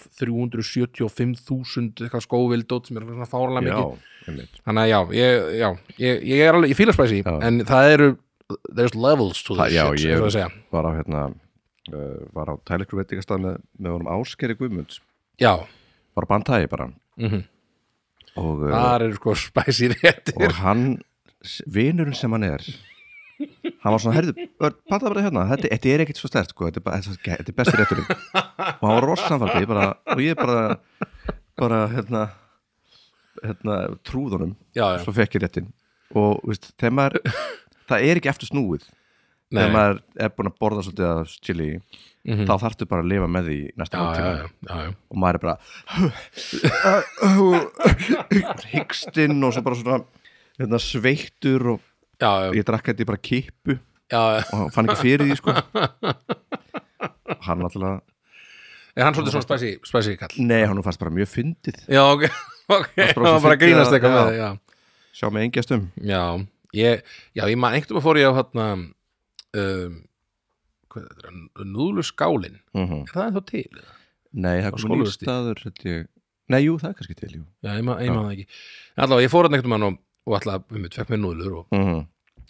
Speaker 1: 375.000 eitthvað skóvildótt sem er svona fárlega
Speaker 2: já,
Speaker 1: mikið
Speaker 2: einmitt.
Speaker 1: þannig að já, ég, já, ég, ég er alveg ég fíla spæsi,
Speaker 2: Já.
Speaker 1: en það eru there's levels to
Speaker 2: Það-
Speaker 1: this
Speaker 2: já,
Speaker 1: shit
Speaker 2: ég-
Speaker 1: eins og að segja.
Speaker 2: var á hérna uh, var á tælikru veitingastað með, með honum Áskeri Guðmunds
Speaker 1: já,
Speaker 2: var á bandtægi bara
Speaker 1: mm
Speaker 2: og, uh,
Speaker 1: það eru sko spæsi réttir
Speaker 2: og hann s- vinurinn sem hann er hann var svona, herðu, pantaði bara hérna þetta, þetta er ekkert svo stert, sko, þetta er, bara, þetta er- þetta er besti rétturinn og hann var rossanfaldi ég bara, og ég bara bara, hérna, hérna trúðunum,
Speaker 1: já, já,
Speaker 2: svo fekk ég réttin og, veist, þegar maður það er ekki eftir snúið
Speaker 1: Nei.
Speaker 2: þegar maður er búin að borða svolítið af chili
Speaker 1: Mhm.
Speaker 2: þá þarftu bara að lifa með því næsta
Speaker 1: já, já,
Speaker 2: máltíma
Speaker 1: já, já, já.
Speaker 2: og maður er bara hyggstinn og svo bara svona hérna, sveittur og
Speaker 1: Já, já,
Speaker 2: ég drakk þetta í bara kippu
Speaker 1: já, já.
Speaker 2: og fann ekki fyrir því sko hann alltaf
Speaker 1: er hann svolítið svona spæsi, spæsi kall
Speaker 2: nei, hann fannst bara mjög fyndið
Speaker 1: já, ok, ok,
Speaker 2: bara
Speaker 1: hann
Speaker 2: svo
Speaker 1: var bara að
Speaker 2: fyndið
Speaker 1: grínast
Speaker 2: að-
Speaker 1: eitthvað með
Speaker 2: já.
Speaker 1: það, já
Speaker 2: sjá mig engjastum
Speaker 1: Já, ég, já, ég man einhvern veginn fór ég á hérna um, hvað er þetta, núðluskálin
Speaker 2: mm -hmm.
Speaker 1: er það ennþá til? eða?
Speaker 2: nei,
Speaker 1: Á
Speaker 2: það kom nýr
Speaker 1: skólavörðustíg.
Speaker 2: staður held ég. nei, jú, það er kannski til jú.
Speaker 1: Já, ég man, ég man það ekki Allá, ég fór hérna einhvern veginn og, og alltaf, við mitt, fekk mér núðlur og
Speaker 2: Mm -hmm.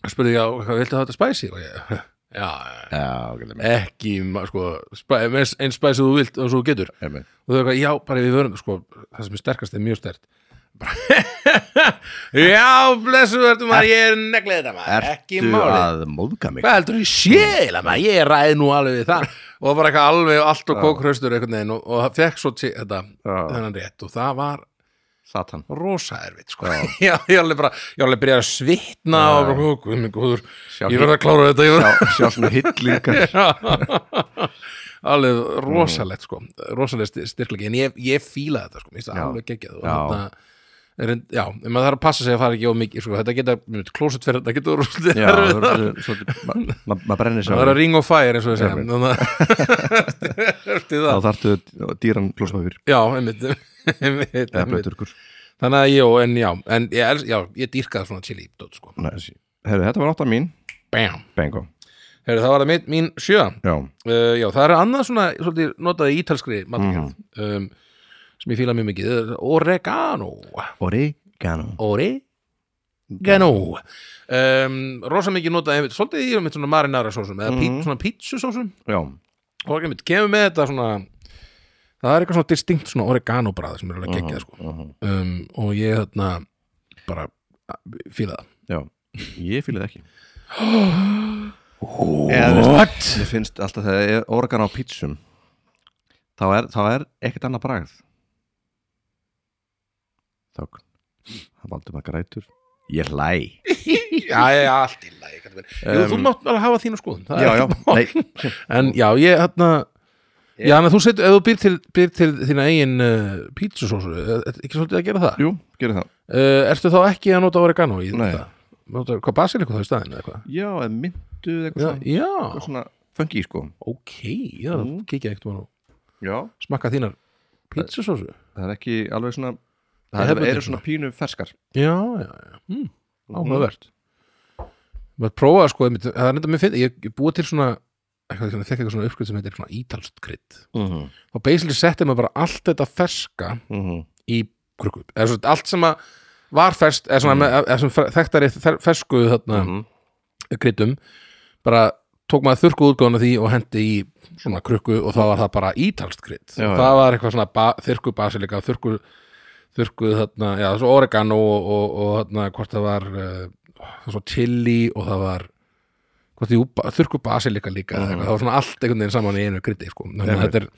Speaker 1: spurði ég, "Já, hvað viltu hafa þetta spæsi? Og ég, já,
Speaker 2: já, ok, með
Speaker 1: ekki, ma- sko, spæ, eins, eins spæsi þú vilt og svo þú getur
Speaker 2: Einmitt.
Speaker 1: og þau eitthvað, já, bara við vörum, sko, það sem er sterkast er mjög stert bara, já, blessu, ertu maður, ég er neglið þetta maður, ekki
Speaker 2: Ertu
Speaker 1: málið
Speaker 2: að móðga mig?
Speaker 1: hvað heldur ég séla maður, ég ræð nú alveg við það og bara eitthvað alveg allt og kókraustur einhvern veginn og, og það fekk svo til þetta,
Speaker 2: Já,
Speaker 1: þennan rétt og það var
Speaker 2: Satan
Speaker 1: rosa erfitt sko. já, ég alveg bara, ég alveg byrjaði að svitna
Speaker 2: Já.
Speaker 1: og bara, guð minn góður
Speaker 2: Sjá
Speaker 1: ég verði að klára þetta, ég
Speaker 2: sjá, sjá svona hillingar
Speaker 1: verði alveg
Speaker 2: Mm.
Speaker 1: rosalegt sko, rosalegt styrklegi en ég, ég fíla þetta sko, mér finnst það
Speaker 2: Já.
Speaker 1: alveg geggjað og
Speaker 2: Já.
Speaker 1: þetta reynd- Já, en maður þarf að passa sig að fara ekki of mikið, sko, þetta geta klósetferð, þetta getur rústið
Speaker 2: Já, það er svolítið ma- ma- maður brennir sér
Speaker 1: Það er að ring of fire eins og við segjum Þannig að Eftir
Speaker 2: þá
Speaker 1: það
Speaker 2: þarftu dýran plúsmafyr
Speaker 1: Já, einmitt, einmitt,
Speaker 2: eða
Speaker 1: einmitt.
Speaker 2: blöðturkur
Speaker 1: Þannig að ég, en já En ég, els, já, ég dýrkaði svona chili dot, sko.
Speaker 2: Herru, þetta var átta mín
Speaker 1: Bam
Speaker 2: Bengo
Speaker 1: Heru, Það var það mín, mín sjö uh,
Speaker 2: Já,
Speaker 1: Já, það er annað svona svolítið notaði í ítalskri matargerð
Speaker 2: Mhm.
Speaker 1: um, sem ég fíla mjög mikið Það er Oregano
Speaker 2: oregano
Speaker 1: Oregano um, Rosa mikið notaði einmitt, svolítið í einmitt svona marinara sósum eða pít,
Speaker 2: Mhm.
Speaker 1: svona pítsu sósum
Speaker 2: Já,
Speaker 1: og ekki mitt, kemur með þetta svona það er eitthvað svona distinkt svona oregano bræð sem er alveg geggjað sko
Speaker 2: mhm.
Speaker 1: um, og ég þarna bara a- fíla
Speaker 2: já Ég fýla það ekki
Speaker 1: það What?
Speaker 2: Mér finnst alltaf þegar er oregano á pítsum þá er, þá er ekkert annað bragð Þögn Það valdur maður grætur Ég hlæ
Speaker 1: Já, já, já, allt í lagi Katrín. Jú, þú
Speaker 2: Um,
Speaker 1: mátt alveg hafa þínu skoðun það
Speaker 2: Já,
Speaker 1: er
Speaker 2: já,
Speaker 1: ekkert mál.
Speaker 2: nei
Speaker 1: En já, ég þarna
Speaker 2: Ég-
Speaker 1: Já, en þú setur, ef þú býr til, býr til þína eigin uh, pítsusósu, er er ekki svolítið að gera það?
Speaker 2: Jú, gerir það
Speaker 1: Uh, ertu þá ekki að nota oregano í
Speaker 2: Nei.
Speaker 1: það? Nota, hvað basiliku þá í staðinu eða hvað?
Speaker 2: Já, eða myndu eða eitthvað
Speaker 1: Já,
Speaker 2: svona- eitthvað
Speaker 1: já,
Speaker 2: svona funky sko
Speaker 1: ok, já, það
Speaker 2: Mm.
Speaker 1: kikið ekkert mann og
Speaker 2: Já
Speaker 1: smakka þínar pítsusósu
Speaker 2: það er ekki alveg svona
Speaker 1: Ég
Speaker 2: það
Speaker 1: hef
Speaker 2: eru
Speaker 1: þetta
Speaker 2: er svona pínu ferskar
Speaker 1: já, já, já, mm, áhugavert maður prófaði sko einmitt, það er enda mér finn, ég, ég búið til svona eitthvað, svona, þekka eitthvað svona uppskrift sem heitir svona ítalst krydd
Speaker 2: mm -hmm.
Speaker 1: og basically setti maður bara allt þetta ferska
Speaker 2: Mm -hmm.
Speaker 1: í krukku eða svona allt sem að var ferst eða svona, mm. eða svona þekktari fer- fersku þarna mm. kryddum bara tók maður þurrkuð útgóðan af því og hendi í svona krukku og þá var það bara ítalst krydd
Speaker 2: Já, já.
Speaker 1: það var eitthvað svona ba þurrku basilika þurrku, þurrkuð þarna já, svo oregano og, og, og þarna hvort það var uh, það var svo chili og það var hvort því úpa- þurrku basilika líka mm. það var svona allt einhvern veginn saman í einu kryddi sko. Þannig að
Speaker 2: Einmitt.
Speaker 1: þetta er,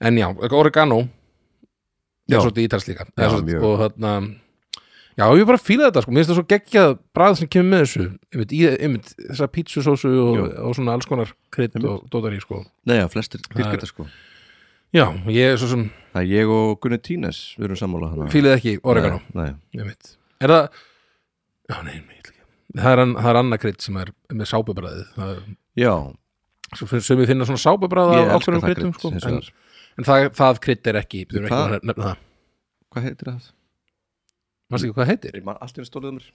Speaker 1: en já, oregano
Speaker 2: Já.
Speaker 1: er svolítið ítalst líka
Speaker 2: Já,
Speaker 1: já, svolítið,
Speaker 2: mjög.
Speaker 1: og þarna Já, ég bara fíla þetta sko, mér finnst það svo geggjað bræð sem kemur með þessu, einmitt, í, einmitt þessa pítsusósu og,
Speaker 2: Jú.
Speaker 1: og svona alls konar krydd
Speaker 2: Einmitt.
Speaker 1: og dótar í sko.
Speaker 2: Nei, já, flestir
Speaker 1: er-
Speaker 2: dyrkir þetta sko
Speaker 1: Já, Já, ég er svo sem
Speaker 2: Það er ég og Gunnar Tínes, við erum sammála hana.
Speaker 1: fílið ekki oregano
Speaker 2: Nei,
Speaker 1: einmitt. Er það Já, nei, nei, ég ætla ekki. það er, ann- það er annað krydd sem er með sápubræðið það er,
Speaker 2: nei. Já,
Speaker 1: svo finn- sumir finna svona sápubræð á
Speaker 2: ég elska
Speaker 1: ákveðum
Speaker 2: það
Speaker 1: kryddum
Speaker 2: krydd,
Speaker 1: sko.
Speaker 2: hins
Speaker 1: en,
Speaker 2: vegar.
Speaker 1: en það, það krydd er ekki við erum ekki
Speaker 2: Það-
Speaker 1: búin að nefna það
Speaker 2: Hvað heitir það?
Speaker 1: Manstu ekki hvað það heitir?
Speaker 2: Er maður allt í stólið um mér?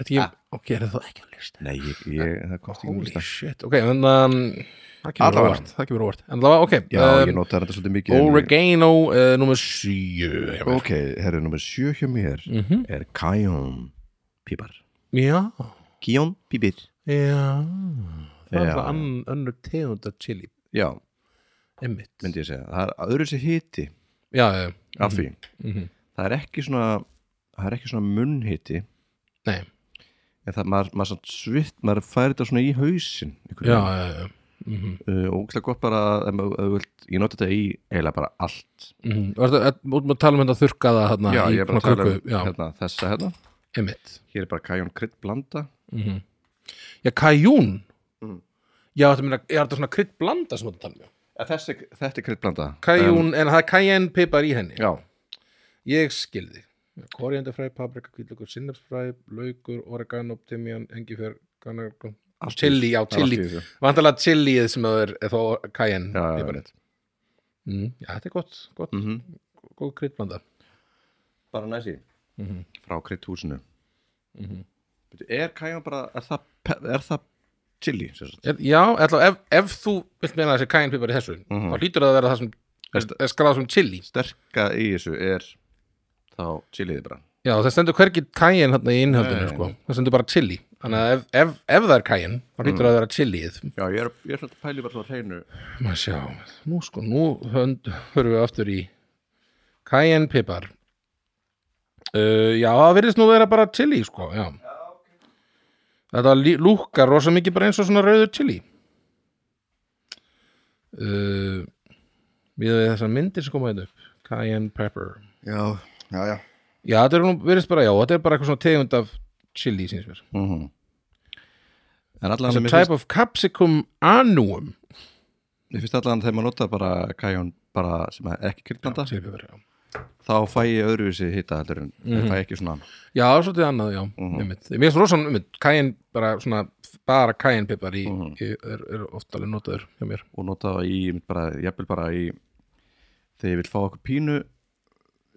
Speaker 1: Þetta ekki,
Speaker 2: Ah.
Speaker 1: Ok, er það ekki að lista?
Speaker 2: Nei, ég, ég, það komst ekki um
Speaker 1: Holy
Speaker 2: lista.
Speaker 1: shit, ok, en um, það kemur
Speaker 2: Allavega.
Speaker 1: óvart Það kemur óvart, en það var, ok
Speaker 2: Já,
Speaker 1: um,
Speaker 2: ég notaði þetta svolítið mikið. en-
Speaker 1: Oregano,
Speaker 2: eh,
Speaker 1: uh, nummer 7
Speaker 2: Ok, herru, nummer sjö hjá mér
Speaker 1: mm -hmm.
Speaker 2: er Kajón Pípar.
Speaker 1: Já,
Speaker 2: Kijón Pípir.
Speaker 1: já Það er
Speaker 2: Já.
Speaker 1: það ann- önnur tegund af chili
Speaker 2: Já,
Speaker 1: Emmitt
Speaker 2: myndi ég segja. Það er öðru sér hiti
Speaker 1: Já, já, já.
Speaker 2: af því.
Speaker 1: Mhm.
Speaker 2: Það er ekki svona, það er ekki svona munnhiti.
Speaker 1: Nei.
Speaker 2: En það, maður, maður svona svitt, maður færi þetta svona í hausinn. einhvern
Speaker 1: já, já,
Speaker 2: veginn.
Speaker 1: já. Mhm,
Speaker 2: uh, og ógæslega gott bara að- ef maður- ef þú vilt, ég noti þetta í eiginlega bara allt
Speaker 1: mhm. Varstu að- út með að tala um þetta þurrkaða hérna
Speaker 2: já,
Speaker 1: í
Speaker 2: ég er bara að
Speaker 1: svona
Speaker 2: tala um
Speaker 1: köku. Já,
Speaker 2: hérna, þessa hérna,
Speaker 1: emmitt
Speaker 2: hér er bara kajón krydd blanda
Speaker 1: Mhm. Já, kajún
Speaker 2: Mm.
Speaker 1: Já, þetta meina, ég er þetta svona krydd blanda sem þetta tala um já.
Speaker 2: ja, Eh, þessi, þetta er krydd blanda
Speaker 1: Kajún, en það er kajenn pipar í henni
Speaker 2: já,
Speaker 1: Ég skilði Koriandafræ, paprika, kvítlökur, sinnafsfræ laukur, oregano, timjan, engifjör kannar,
Speaker 2: Allt í-
Speaker 1: chili, já,
Speaker 2: það er allt í
Speaker 1: chili
Speaker 2: þessu.
Speaker 1: Vandalega chilið sem það er er þá kajenn
Speaker 2: já, já,
Speaker 1: piparið.
Speaker 2: rétt.
Speaker 1: Mm, já, þetta er gott, gott,
Speaker 2: Mhm.
Speaker 1: góð kryddblanda
Speaker 2: bara næsi
Speaker 1: Mhm.
Speaker 2: frá krydd húsinu
Speaker 1: Mhm.
Speaker 2: er kajón bara, er það, pe- er það chili sem sagt?
Speaker 1: Er, já, allavega, ef, ef þú vilt meina þessi kajenpipar í þessu
Speaker 2: Mhm.
Speaker 1: þá hlýtur það að vera það sem
Speaker 2: Veist-
Speaker 1: er skráð sem chili
Speaker 2: sterka í þessu er þá chilið bara
Speaker 1: Já, það stendur hvergi kajen hérna í innhaldinu
Speaker 2: Nei.
Speaker 1: sko. það stendur bara chili þannig að ef, ef, ef það er kajen þá hlýtur það að vera chilið
Speaker 2: já, ég er, ég er svolítið pæli bara svona hreinu
Speaker 1: Má sjá, nú sko, nú hönd, hörum við aftur í kajenpipar uh, Já, það virðist nú vera bara chili sko, já Þetta lí- lúkkar rosa mikið bara eins og svona rauður chili uh, Við þessar myndir sem koma þetta upp Cayenne pepper
Speaker 2: já, já, já
Speaker 1: Já, þetta er nú virðist bara, já, þetta er bara eitthvað svona tegund af chili, síns mér
Speaker 2: mhm En allan
Speaker 1: It's a
Speaker 2: mér
Speaker 1: type of capsicum annuum
Speaker 2: Mér finnst allan þegar maður nota bara kajón bara sem er ekki kryddblanda
Speaker 1: Chili pepper, já
Speaker 2: þá fæ ég öðruvísi hita heldur en mm
Speaker 1: Mhm.
Speaker 2: fæ ekki svona
Speaker 1: Já, það er svolítið annað, já, mm
Speaker 2: Mhm.
Speaker 1: -hmm. einmitt. Mér finnst rosan, einmitt, kæin, bara svona, bara kæinpipar í, mm
Speaker 2: Mhm.
Speaker 1: er, er ofta alveg notaður hjá mér.
Speaker 2: og nota það í, ég mynd bara, jafnvel bara í þegar ég vil fá okkur pínu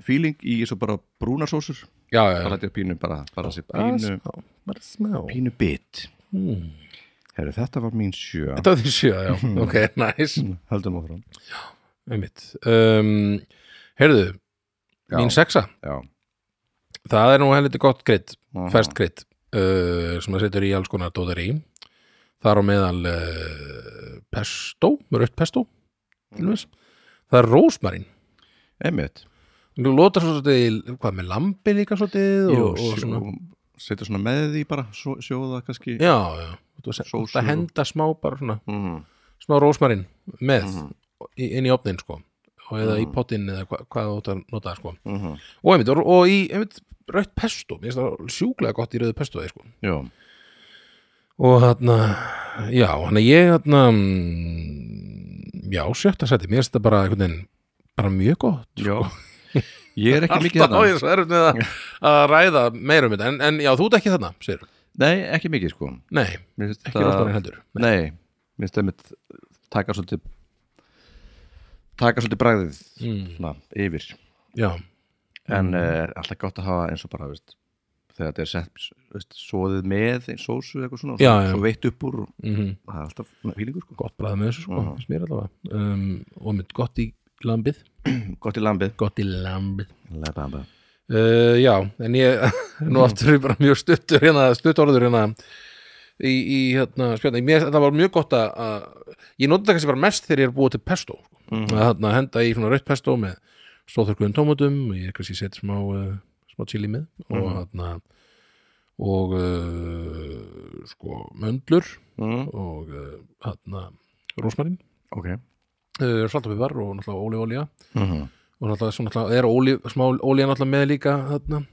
Speaker 2: feeling í eins og bara brúnar sósur
Speaker 1: Já, já,
Speaker 2: þá
Speaker 1: já.
Speaker 2: læt ég pínu bara, bara þessi
Speaker 1: Bara
Speaker 2: pínu
Speaker 1: smá, bara smá.
Speaker 2: pínu bit
Speaker 1: Hmm.
Speaker 2: Herru, þetta var mín sjö
Speaker 1: Þetta var því sjö, já, ok, næs,
Speaker 2: Höldum áfram
Speaker 1: einmitt. Um, heyrðu,
Speaker 2: Já.
Speaker 1: mín sexa,
Speaker 2: Já,
Speaker 1: það er nú helviti gott krydd,
Speaker 2: Mhm.
Speaker 1: ferskt krydd, uh, sem það setur í alls konar dóðar í. Þar á meðal uh, pesto, rautt pesto, til þess. Það er rósmarin.
Speaker 2: einmitt
Speaker 1: Þú lótar svo svolítið, í- hvað með lambi líka svolítið
Speaker 2: Jú,
Speaker 1: og, og svona
Speaker 2: Setja svona með því bara, svo, sjóða kannski
Speaker 1: Já, já, þú ert að,
Speaker 2: Sósur
Speaker 1: ert að
Speaker 2: og-
Speaker 1: henda smá bara svona,
Speaker 2: Mhm.
Speaker 1: smá rósmarinn með í, inn í opnin sko og eða í pottinn eða hva, hvað þú ert að nota sko
Speaker 2: Mhm.
Speaker 1: og einmitt, og, og í einmitt rautt pesto, mér finnst það sjúklega gott í rauðu pestoði sko
Speaker 2: Já,
Speaker 1: og þarna, já, hann að ég þarna mm, já, sjötta sæti, mér finnst það bara einhvern veginn bara mjög gott
Speaker 2: já Ég er ekki mikið
Speaker 1: Sko.
Speaker 2: hérna.
Speaker 1: Alltaf á ég svo erum við að, að ræða meira um þetta, en, en já, þú ert ekki þarna, sér
Speaker 2: Nei, ekki mikið sko
Speaker 1: Nei,
Speaker 2: Mér finnst
Speaker 1: ekki rósmarinn heldur
Speaker 2: Nei, mér finnst einmitt taka svolítið taka svolítið bræðið
Speaker 1: mm,
Speaker 2: svona yfir
Speaker 1: Já,
Speaker 2: en mm. er alltaf gott að hafa eins og bara veist, þegar þetta er sett veist, soðið með einn sósu eða eitthvað svona
Speaker 1: Já,
Speaker 2: og
Speaker 1: já.
Speaker 2: svo veitt upp úr og
Speaker 1: mhm
Speaker 2: það er alltaf svona fílingur sko.
Speaker 1: gott bræð með þessu sko,
Speaker 2: Mhm.
Speaker 1: finnst mér allavega um, og mynd gott í lambið
Speaker 2: gott í lambið
Speaker 1: gott í lambið
Speaker 2: Lambið.
Speaker 1: uh, já, en ég nú aftur er ég bara mjög stuttur hérna, stuttorður hérna í, í hérna, spjörna, mér, það var mjög gott að, að ég nota það kannski bara mest þegar ég er búið til pesto sko. að hérna, henda í svona rautt pesto með stóðþörkuðum tómatum og ég kannski set smá, uh, smá chili með og hérna og uh, sko möndlur
Speaker 2: Mm.
Speaker 1: og uh, hérna rósmarinn
Speaker 2: Ok
Speaker 1: uh, saltapipar og náttúrulega ólíolía
Speaker 2: mm -hmm.
Speaker 1: og náttúrulega, svo náttúrulega er ólí, smá ólíja náttúrulega með líka þarna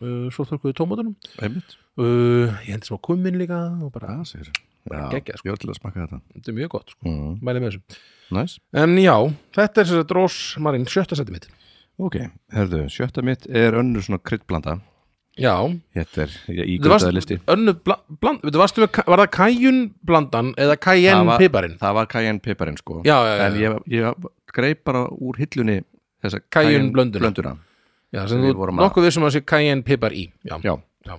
Speaker 1: uh, svo þurrkuðu tómatunum Eh,
Speaker 2: Einmitt
Speaker 1: uh, ég hendi smá kummin líka og bara
Speaker 2: Það segir
Speaker 1: bara geggjað, sko.
Speaker 2: Ég var til að smakka þetta.
Speaker 1: þetta er mjög gott, sko.
Speaker 2: Mm.
Speaker 1: mæli með þessu
Speaker 2: Næs.
Speaker 1: en já, þetta er sér að drós marinn sjötta seti mitt
Speaker 2: Ok, herðu, sjötta mitt er önnur svona kryddblanda.
Speaker 1: já,
Speaker 2: Þetta er
Speaker 1: Þú varst-
Speaker 2: ígröndaði listi.
Speaker 1: önnu bland, bland veitu, varstu með, var það kajun blandan eða
Speaker 2: Það
Speaker 1: kajun
Speaker 2: var-
Speaker 1: piparinn
Speaker 2: Það var Cayenne piparinn sko.
Speaker 1: já, já, já,
Speaker 2: En ég, ég greip bara úr hillunni þessa
Speaker 1: Cayenne
Speaker 2: Cayenne
Speaker 1: blönduna.
Speaker 2: blönduna.
Speaker 1: já, sem
Speaker 2: við
Speaker 1: þú
Speaker 2: vorum að-
Speaker 1: nokkuð vissum að sé kajun pipar í já.
Speaker 2: Já,
Speaker 1: Já.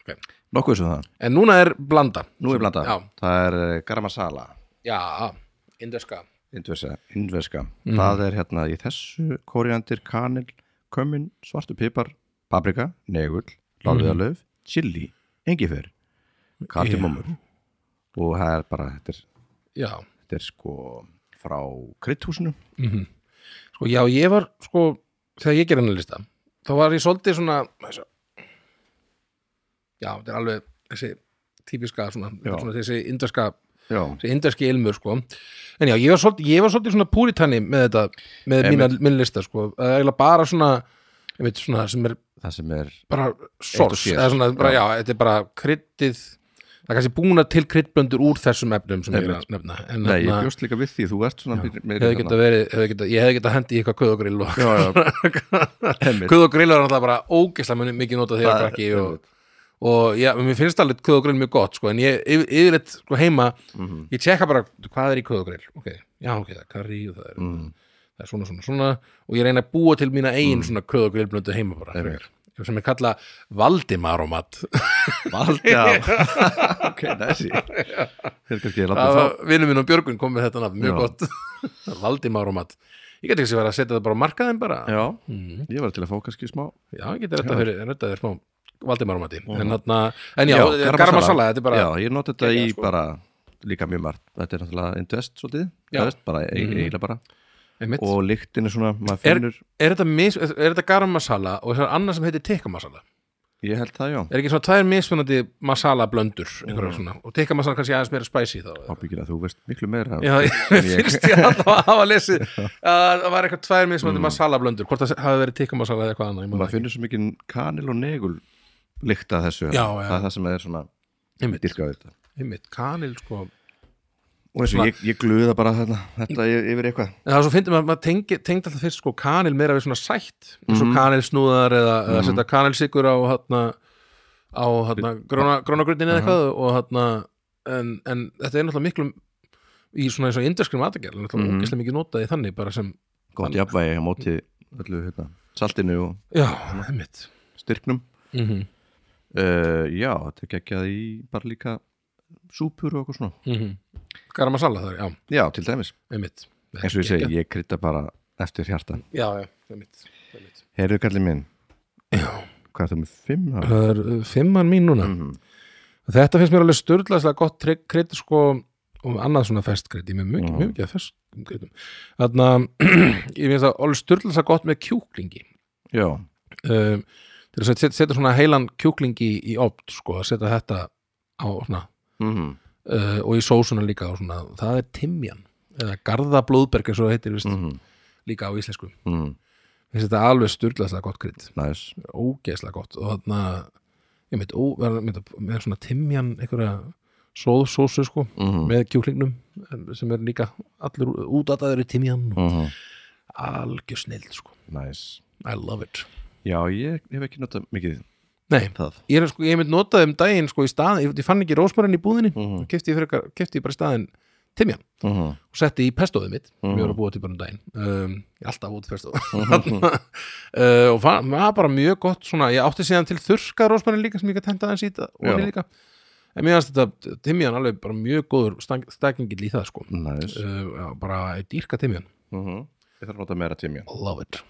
Speaker 1: ok.
Speaker 2: nokkuð sem það.
Speaker 1: en núna er blanda
Speaker 2: Nú er blanda.
Speaker 1: Já.
Speaker 2: Það er eh, garam masala,
Speaker 1: já, indverska
Speaker 2: indversa, indverska.
Speaker 1: Mhm.
Speaker 2: Það er hérna í þessu koriandir, kanil, kömmin, svartu pipar, paprika, negull, lárviðalöf,
Speaker 1: Mhm.
Speaker 2: chili, engifer, kartimumur. Og það er bara, þetta er,
Speaker 1: já,
Speaker 2: þetta er sko frá kryddhúsinu.
Speaker 1: sko, já, ég var sko, þegar ég gerði hennar lista þá var ég svolítið svona þessu, já, þetta er alveg þessi típiska svona, þetta
Speaker 2: Já.
Speaker 1: er svona þessi indverska
Speaker 2: Já.
Speaker 1: þessi inderski ilmur sko en já, ég var svolítið, ég var svolítið svona púritanni með þetta, með mína, minn lista sko Það er eiginlega bara svona ég veit, svona sem er
Speaker 2: Það sem er,
Speaker 1: bara
Speaker 2: og
Speaker 1: sors,
Speaker 2: sér.
Speaker 1: eða svona, bara, já, þetta er bara kryddið, það er kannski búna til kryddblöndur úr þessum efnum sem ég er að nefna en
Speaker 2: nei, ég
Speaker 1: þarna-
Speaker 2: bjóst líka við því, þú ert svona meiri- meiri
Speaker 1: Hérna- hefði
Speaker 2: þarna.
Speaker 1: geta verið, hefði geta, ég hefði geta hendi í eitthvað kuð og grill og
Speaker 2: já, já. Einmitt.
Speaker 1: kuð og grill er náttúrulega bara ógeðslega mun- mikið notað þegar
Speaker 2: Það er-
Speaker 1: krakki og, og já, mér finnst alveg kuð og grill mjög gott sko, en ég yfir- yfirleitt sko, heima
Speaker 2: Mhm.
Speaker 1: ég tjekka bara hvað er í kuð og grill ok, já ok, það er karri og það er
Speaker 2: Mhm.
Speaker 1: það er svona svona svona og ég reyna að búa til mína eigin
Speaker 2: Mhm.
Speaker 1: svona kuð og grillblöndu heima bara frekar, sem ég kalla Valdimaromat
Speaker 2: Valda Ok, næsi Þeir kannski ég
Speaker 1: það
Speaker 2: lappa
Speaker 1: var vinnum minn og Björgun kom með þetta nafn, mjög
Speaker 2: Já.
Speaker 1: gott Valdimaromat ég get ekki sér að setja það bara á markaðin bara Mhm.
Speaker 2: þá Já, ég var til að fá kannski smá
Speaker 1: Já, ég geti þetta fyrir, þetta er smá Valdimarumati, en þarna en já,
Speaker 2: garam
Speaker 1: garam
Speaker 2: masala.
Speaker 1: masala, þetta er bara
Speaker 2: Já, ég noti þetta í
Speaker 1: Geggjað, sko.
Speaker 2: bara líka mjög margt Þetta er náttúrulega indvest svolítið
Speaker 1: Já.
Speaker 2: Já veist, Bara e- eiginlega bara
Speaker 1: einmitt.
Speaker 2: Og lyktin er svona, maður
Speaker 1: er,
Speaker 2: finnur
Speaker 1: er þetta, mis, er þetta garam masala og það er annað sem heitir tikka masala
Speaker 2: Ég held það, já
Speaker 1: er ekki svona tvær mismunandi masala blöndur einhverja svona, og tikka masala er kannski aðeins meira spicy þá
Speaker 2: Ábyggjur að þú veist miklu meira
Speaker 1: Já, ég finnst ég alltaf að hafa lesið að það var eitthvað tvær mismunandi masala blöndur hvort það hafi verið tikka masala eða eitthvað annað ég man
Speaker 2: Maður
Speaker 1: það ekki.
Speaker 2: finnur svo mikið kanil og negul Lykt að þessu
Speaker 1: Já, já.
Speaker 2: Það er það sem er svona
Speaker 1: einmitt,
Speaker 2: dyrkað við þetta
Speaker 1: einmitt, kanil sko
Speaker 2: Og eins og ég, ég glöða bara þetta, þetta y- yfir eitthvað
Speaker 1: En það er svo fyndið maður, maður tengi, tengd alltaf fyrst sko kanil meira við svona sætt eins og kanilsnúðar eða, eða setja kanilsikur á hátna á hátna grónagröndin eða eitthvað og hátna en, en þetta er náttúrulega miklu í svona eins og indverskri matagerð náttúrulega
Speaker 2: Mhm.
Speaker 1: mm mikið notað í þannig bara sem
Speaker 2: Gott jafnvægi á móti öllu hérna, saltinu og
Speaker 1: já, heimitt
Speaker 2: styrknum
Speaker 1: mm -hmm.
Speaker 2: uh, Já, þetta er geggjað í bara líka súpur og eitthvað svona
Speaker 1: mm -hmm. garam masala þar, já,
Speaker 2: Já, til dæmis,
Speaker 1: heimitt
Speaker 2: eins og ég segi, ég krydda bara eftir hjarta
Speaker 1: já, já, heimitt
Speaker 2: Heyrðu kallið minn,
Speaker 1: já,
Speaker 2: hvað er það með fimm? það?
Speaker 1: það er uh, fimman mín núna
Speaker 2: Mhm.
Speaker 1: Þetta finnst mér alveg störðlega gott trygg- krydd sko og annað svona festkrydd, ég er með mjög, mjög mikið af festkryddum þannig að ég finnst það alveg störðlega gott með kjúklingi
Speaker 2: Já,
Speaker 1: um, til að setja, setja svona heilan kjúklingi í opt sko, að setja þetta á svona
Speaker 2: mm
Speaker 1: uh, og í sósuna líka og svona, það er timjan eða garðablóðberg eins og það heitir vist,
Speaker 2: Mhm.
Speaker 1: líka á íslensku
Speaker 2: mm,
Speaker 1: finnst þetta alveg störðlega gott krydd
Speaker 2: næs
Speaker 1: ógeðslega gott og þarna ég veit, ó, með, með, með svona timjan einhverja sóðsósu sko
Speaker 2: Mhm.
Speaker 1: með kjúklingnum em, sem er líka allir útataður í timjan og
Speaker 2: Mhm.
Speaker 1: algjör snild sko,
Speaker 2: Næs
Speaker 1: I love it
Speaker 2: Já, ég hef ekki notað mikið
Speaker 1: Nei,
Speaker 2: það
Speaker 1: ég er sko, ég mynd notaði um daginn sko í stað, ég, ég fann ekki rósmarin í búðinni mm
Speaker 2: Mhm.
Speaker 1: -hmm. kefti, ég fyrir, kefti ég bara í staðinn timjan
Speaker 2: mm
Speaker 1: og setti í pestóðið mitt sem
Speaker 2: Mhm.
Speaker 1: ég var að búa til bara um daginn um, ég er alltaf að búa til pestóð uh, og fann, var bara mjög gott svona, ég átti síðan til þurrka rósmarin líka sem ég gæti henda aðeins í þetta og
Speaker 2: Já.
Speaker 1: líka en mér finnst þetta timjan alveg bara mjög góður stang- stakingill í það sko
Speaker 2: Næs
Speaker 1: uh, já, bara ég dýrka timjan,
Speaker 2: mm Ég þarf að nota meira tímja
Speaker 1: love it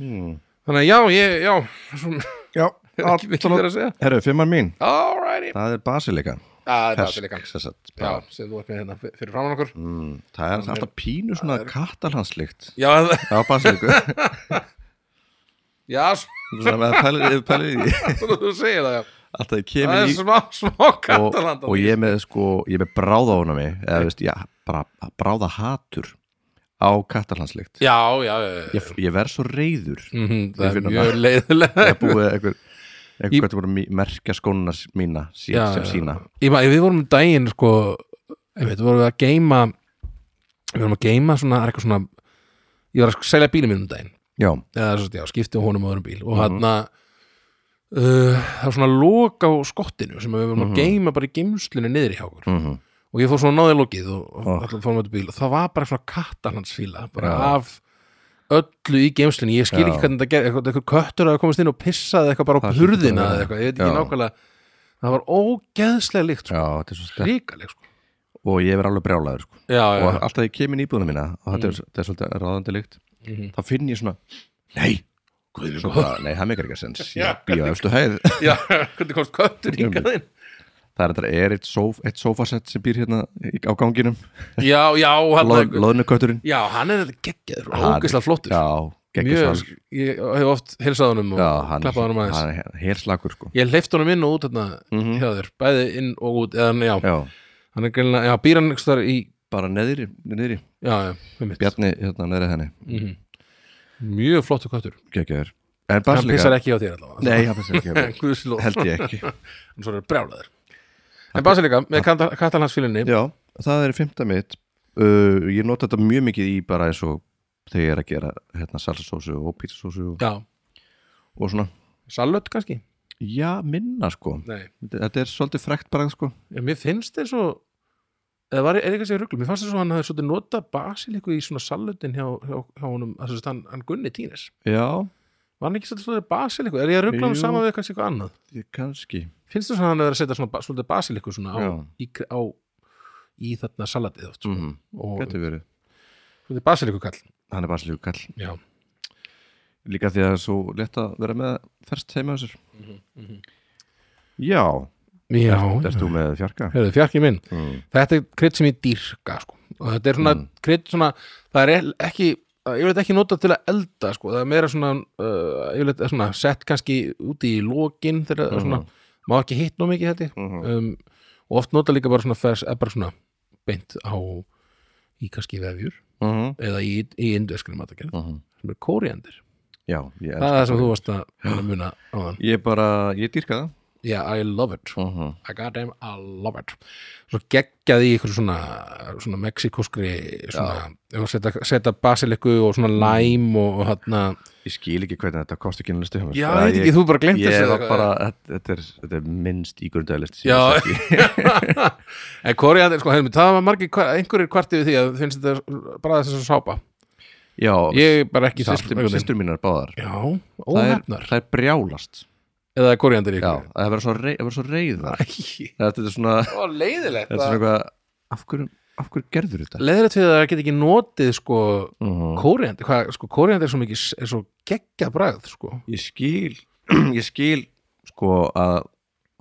Speaker 2: mm.
Speaker 1: Þannig að já, ég, já, svona,
Speaker 2: Já,
Speaker 1: ekki mikið verið að segja.
Speaker 2: Herru, fimmar mín,
Speaker 1: Alrighty. Ah,
Speaker 2: það er basilika
Speaker 1: Það er
Speaker 2: Fersk,
Speaker 1: basilikan.
Speaker 2: sem sagt,
Speaker 1: Já,
Speaker 2: bara-
Speaker 1: sem þú ert með hérna fyrir framann okkur.
Speaker 2: Mm, Það er alltaf pínu svona kattalanslikt
Speaker 1: Já, það-
Speaker 2: Já, basiliku
Speaker 1: já,
Speaker 2: Svona með að pæla- ef pæla í því
Speaker 1: svona þú segir það, já.
Speaker 2: Alltaf ég
Speaker 1: Það
Speaker 2: kemur
Speaker 1: er
Speaker 2: í
Speaker 1: smá, smá
Speaker 2: og,
Speaker 1: katalanda.
Speaker 2: og ég er með sko, ég er með bráða honum eða veist, já, bara bráða hatur á kattalanslikt
Speaker 1: Já, já, já, já.
Speaker 2: ég, ég verð svo reyður
Speaker 1: Mhm, það
Speaker 2: Ég
Speaker 1: er
Speaker 2: finn
Speaker 1: mjög leiðilega.
Speaker 2: að búið eitthvað
Speaker 1: Í-
Speaker 2: eitthvað hvernig voru að merkja skónuna s- mína síð,
Speaker 1: Já,
Speaker 2: sem
Speaker 1: já.
Speaker 2: sína
Speaker 1: ég maður, við vorum um daginn sko, ég veit, vorum við að geima við vorum að geima svona, það er eitthvað svona ég var að selja bílum mínum um daginn
Speaker 2: já,
Speaker 1: eða svo, já, skipti á honum og öðrum bíl og
Speaker 2: Mhm.
Speaker 1: hann að Uh, það var svona lok á skottinu sem við vorum
Speaker 2: Mhm.
Speaker 1: að geima bara í geimslinu niðri hjá okkur
Speaker 2: mm
Speaker 1: og ég fór svona náði lokið og, og
Speaker 2: Ah.
Speaker 1: allan fórum þetta bíl og það var bara svona kattalansfíla bara
Speaker 2: Já.
Speaker 1: af öllu í geimslinu ég skil
Speaker 2: Já.
Speaker 1: ekki hvernig þetta gerði, eitthvað, eitthvað köttur að komast inn og pissaði eitthvað bara á
Speaker 2: Það hlýtur bara
Speaker 1: hurðina
Speaker 2: að
Speaker 1: eða
Speaker 2: vera.
Speaker 1: eitthvað, ég veit ekki
Speaker 2: Já.
Speaker 1: nákvæmlega það var ógeðslega líkt sko.
Speaker 2: já, þetta er svo stert
Speaker 1: ríkaleg sko.
Speaker 2: og ég verð alveg brjálaður sko.
Speaker 1: já, já,
Speaker 2: og
Speaker 1: já.
Speaker 2: alltaf ég kem inn í íbúðuna mína og þetta er, þetta er svolítið ráðandi líkt
Speaker 1: Mhm.
Speaker 2: þá finn ég svona, nei
Speaker 1: Guð,
Speaker 2: svo bara, nei, það meikar ekki að sens
Speaker 1: Já.
Speaker 2: ég býja efstu hæð
Speaker 1: já, hvernig komst köttur hingað inn
Speaker 2: það er, þetta er eitt, sof, eitt sofasett sem býr hérna í- á ganginum
Speaker 1: já, já, hann
Speaker 2: Loð, loðnukötturinn
Speaker 1: já, hann er þetta geggjaður og
Speaker 2: Hann-
Speaker 1: ógeðslega flottur
Speaker 2: já, geggjast
Speaker 1: mjög, ég hef oft hilsað honum og
Speaker 2: já, hann,
Speaker 1: klappað honum aðeins
Speaker 2: hann er helslakur sko
Speaker 1: ég hleyft honum inn og út hérna
Speaker 2: Mhm.
Speaker 1: hjá þér, bæði inn og út eða, já,
Speaker 2: já,
Speaker 1: hann er greinlega, já, býr hann ykkur í
Speaker 2: bara neðri, neðri
Speaker 1: já, já, með mitt
Speaker 2: Bjarni hérna neðri henni,
Speaker 1: mjög flottur köttur,
Speaker 2: geggjaður en
Speaker 1: hann
Speaker 2: Basilika,
Speaker 1: pissar ekki á þér allavega
Speaker 2: nei, hann pissar ekki á mig.
Speaker 1: Guðslóð,
Speaker 2: held ég ekki
Speaker 1: hann svo er brjálaður en Basilika, með katalhansfílinni
Speaker 2: já, það er fymta mitt uh, ég nota þetta mjög mikið í bara eins og þegar ég er að gera hérna salsasósu og pizzasósu og,
Speaker 1: já,
Speaker 2: og svona,
Speaker 1: salöt kannski
Speaker 2: já, minna sko
Speaker 1: nei,
Speaker 2: þetta er svolítið frekt bara sko
Speaker 1: Já, mér finnst þér svo eða var, er ekki að segja rugglu, mér fannst þér svo hann hafði svolítið nota basiliku í svona salutin hjá, hjá, hjá honum, að þess að hann, hann Gunni Tínes
Speaker 2: já,
Speaker 1: var hann ekki svolítið svolítið basiliku, er ég að ruggla hann
Speaker 2: Jú.
Speaker 1: saman við kannski eitthvað annað,
Speaker 2: ég kannski
Speaker 1: finnst þér svo hann að vera að setja svona, ba- svolítið basiliku svona á,
Speaker 2: já,
Speaker 1: í, kr- á, í þarna salatið oft, sko?
Speaker 2: mhm,
Speaker 1: og
Speaker 2: getur verið
Speaker 1: svolítið basiliku kall
Speaker 2: hann er Basilíku kall
Speaker 1: já,
Speaker 2: líka því að það er svo lett að vera með ferst heima þessir
Speaker 1: Mhm,
Speaker 2: já,
Speaker 1: já,
Speaker 2: erst þú með fjarka
Speaker 1: Hérna, Heyrðu, fjarki minn
Speaker 2: mm.
Speaker 1: þetta er krydd sem ég dýrka sko. og þetta er svona
Speaker 2: Mm.
Speaker 1: krydd svona, það er ekki ég vil ekki nota til að elda sko. það er meira svona, uh, ég vil þetta svona sett kannski úti í lokin þegar
Speaker 2: Mhm.
Speaker 1: svona, má ekki hitt nú mikið þetta
Speaker 2: Mm
Speaker 1: um, og oft nota líka bara svona, fers, eh, bara svona beint á í kannski vefjur eða í, í indverskri matagerð sem er kóriandir,
Speaker 2: Mhm. já, ég
Speaker 1: það er það
Speaker 2: elska
Speaker 1: sem þú
Speaker 2: kóríander.
Speaker 1: varst að að muna á hann,
Speaker 2: ég bara, ég dýrka það
Speaker 1: yeah I love it
Speaker 2: uh
Speaker 1: I goddamn I love it svo geggjaði í ykkur svona, svona mexikoskri svona, og setja, setja basiliku og
Speaker 2: Mm.
Speaker 1: svona læm og, og hann
Speaker 2: ég skil ekki hvernig þetta kosti ekki listu hjá mér
Speaker 1: já, ég
Speaker 2: Það
Speaker 1: veit ekki, þú bara glemt
Speaker 2: ég,
Speaker 1: þessu
Speaker 2: var
Speaker 1: eitthvað.
Speaker 2: bara, þetta- þetta er, þetta er minnst í grundaðalist
Speaker 1: Já. en koriander, sko, hefðum, það var margir hvar- einhverjir kvartið við því að finnst þetta bara þess að sápa
Speaker 2: já
Speaker 1: ég er bara ekki þar
Speaker 2: systur,
Speaker 1: einhvern veginn.
Speaker 2: systur mínar báðar
Speaker 1: já,
Speaker 2: það er,
Speaker 1: óhefnar
Speaker 2: það er brjálast
Speaker 1: eða koriander í
Speaker 2: já,
Speaker 1: ykkur
Speaker 2: það verður svo, rei, það verður svo reyðar
Speaker 1: Æ,
Speaker 2: þetta er svona,
Speaker 1: það var leiðilegt
Speaker 2: þetta er svona eitthvað af hverju, af hverju gerður þetta
Speaker 1: leiðilegt við að það get ekki notið sko
Speaker 2: uh
Speaker 1: koriander, hvað, sko koriander er svo mikið er svo geggja bragð sko
Speaker 2: ég skil ég skil sko að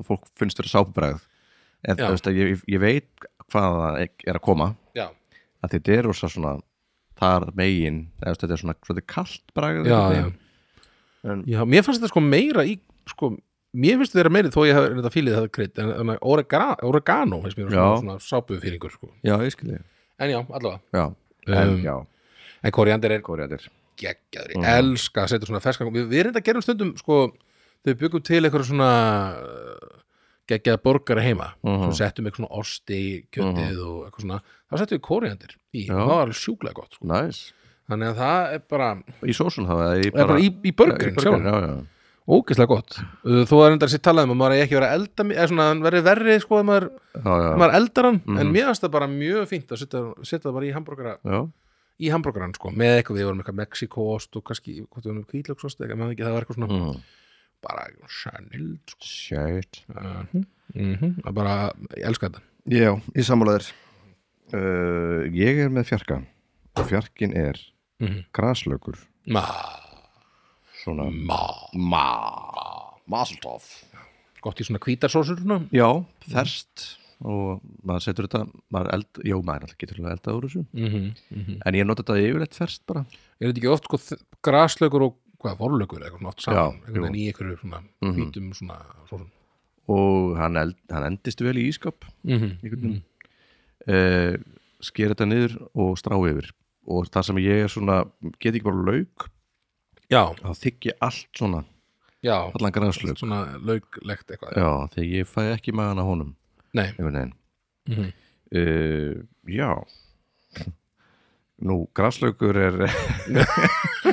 Speaker 2: fólk finnst þetta sápubræð en
Speaker 1: Já.
Speaker 2: þú veist að ég, ég veit hvað það er að koma
Speaker 1: já,
Speaker 2: að þetta er rosa svona þar megin, eða þú veist, þetta er svona svolítið kalt bræð
Speaker 1: já, já.
Speaker 2: En,
Speaker 1: Já, mér fannst þetta sko meira í sko, mér finnst þetta meira þó ég hef þetta fílið það krydd, en, en oregano, oregano finnst mér svona,
Speaker 2: Já.
Speaker 1: svona sápu fílingur sko.
Speaker 2: já, ég skil ég
Speaker 1: en já, allavega,
Speaker 2: já, en,
Speaker 1: Um,
Speaker 2: já,
Speaker 1: en koriander er
Speaker 2: kóriðatir
Speaker 1: geggjaður,
Speaker 2: Mhm.
Speaker 1: ég elska að setja svona ferska, við, við reynda gerum stundum sko, þau byggum til eitthvað svona uh, geggjaða borgara heima
Speaker 2: Mhm.
Speaker 1: svo settum eitthvað svona osti í kjötið og eitthvað svona, þá settum við koriander í,
Speaker 2: Já.
Speaker 1: það var alveg sjúklega gott sko.
Speaker 2: næs,
Speaker 1: þannig að það er bara,
Speaker 2: í sósun það
Speaker 1: er
Speaker 2: eða
Speaker 1: bara í, í burgerin sjálf
Speaker 2: já, já,
Speaker 1: Ógeðslega gott Uh, Þó að reyndar sér talað um að maður eigi ekki verið að elda mi- eða svona hann verið verri sko ef maður,
Speaker 2: já, já,
Speaker 1: ef
Speaker 2: já.
Speaker 1: maður eldar hann
Speaker 2: Mhm.
Speaker 1: en mér finnst það bara mjög fínt að setja, setja það bara í hambúrgara
Speaker 2: já.
Speaker 1: í hambúrgaran sko með eitthvað við vorum eitthvað Mexikoost og kannski hvort við vorum kvítlöksost eitthvað maður ekki það var eitthvað svona
Speaker 2: Mm.
Speaker 1: bara sanild sko.
Speaker 2: shit
Speaker 1: uh
Speaker 2: Mhm.
Speaker 1: -huh. bara ég elska þetta
Speaker 2: já, í sammálaður uh, ég er með fjarka og fjarkin er
Speaker 1: mm -hmm.
Speaker 2: graslaukur
Speaker 1: Ma,
Speaker 2: svona
Speaker 1: ma,
Speaker 2: ma, maseltoff
Speaker 1: gott í svona kvítarsósur svona.
Speaker 2: já, ferst og maður setur þetta maður eld, já, maður alltaf getur alveg eldað úr þessu
Speaker 1: Mm
Speaker 2: Mhm. en ég nota þetta yfirleitt ferst bara
Speaker 1: Er þetta ekki oft sko þ- graslaukur og hvað, vorlaukur eða eitthvað svona oft saman
Speaker 2: Já,
Speaker 1: einhvern
Speaker 2: jú.
Speaker 1: veginn í einhverju svona
Speaker 2: Mhm.
Speaker 1: hvítum svona sósum
Speaker 2: og hann, eld, hann endist vel í ískap
Speaker 1: mm
Speaker 2: mm. uh, sker þetta niður og strá yfir og það sem ég er svona get ekki bara lauk
Speaker 1: Já,
Speaker 2: þá þykki allt svona
Speaker 1: já,
Speaker 2: allan græslaug
Speaker 1: svona lauglegt eitthvað
Speaker 2: já, þegar ég fæ ekki magan á honum
Speaker 1: Nei,
Speaker 2: einhvern veginn
Speaker 1: mm -hmm.
Speaker 2: uh, já nú, græslaugur er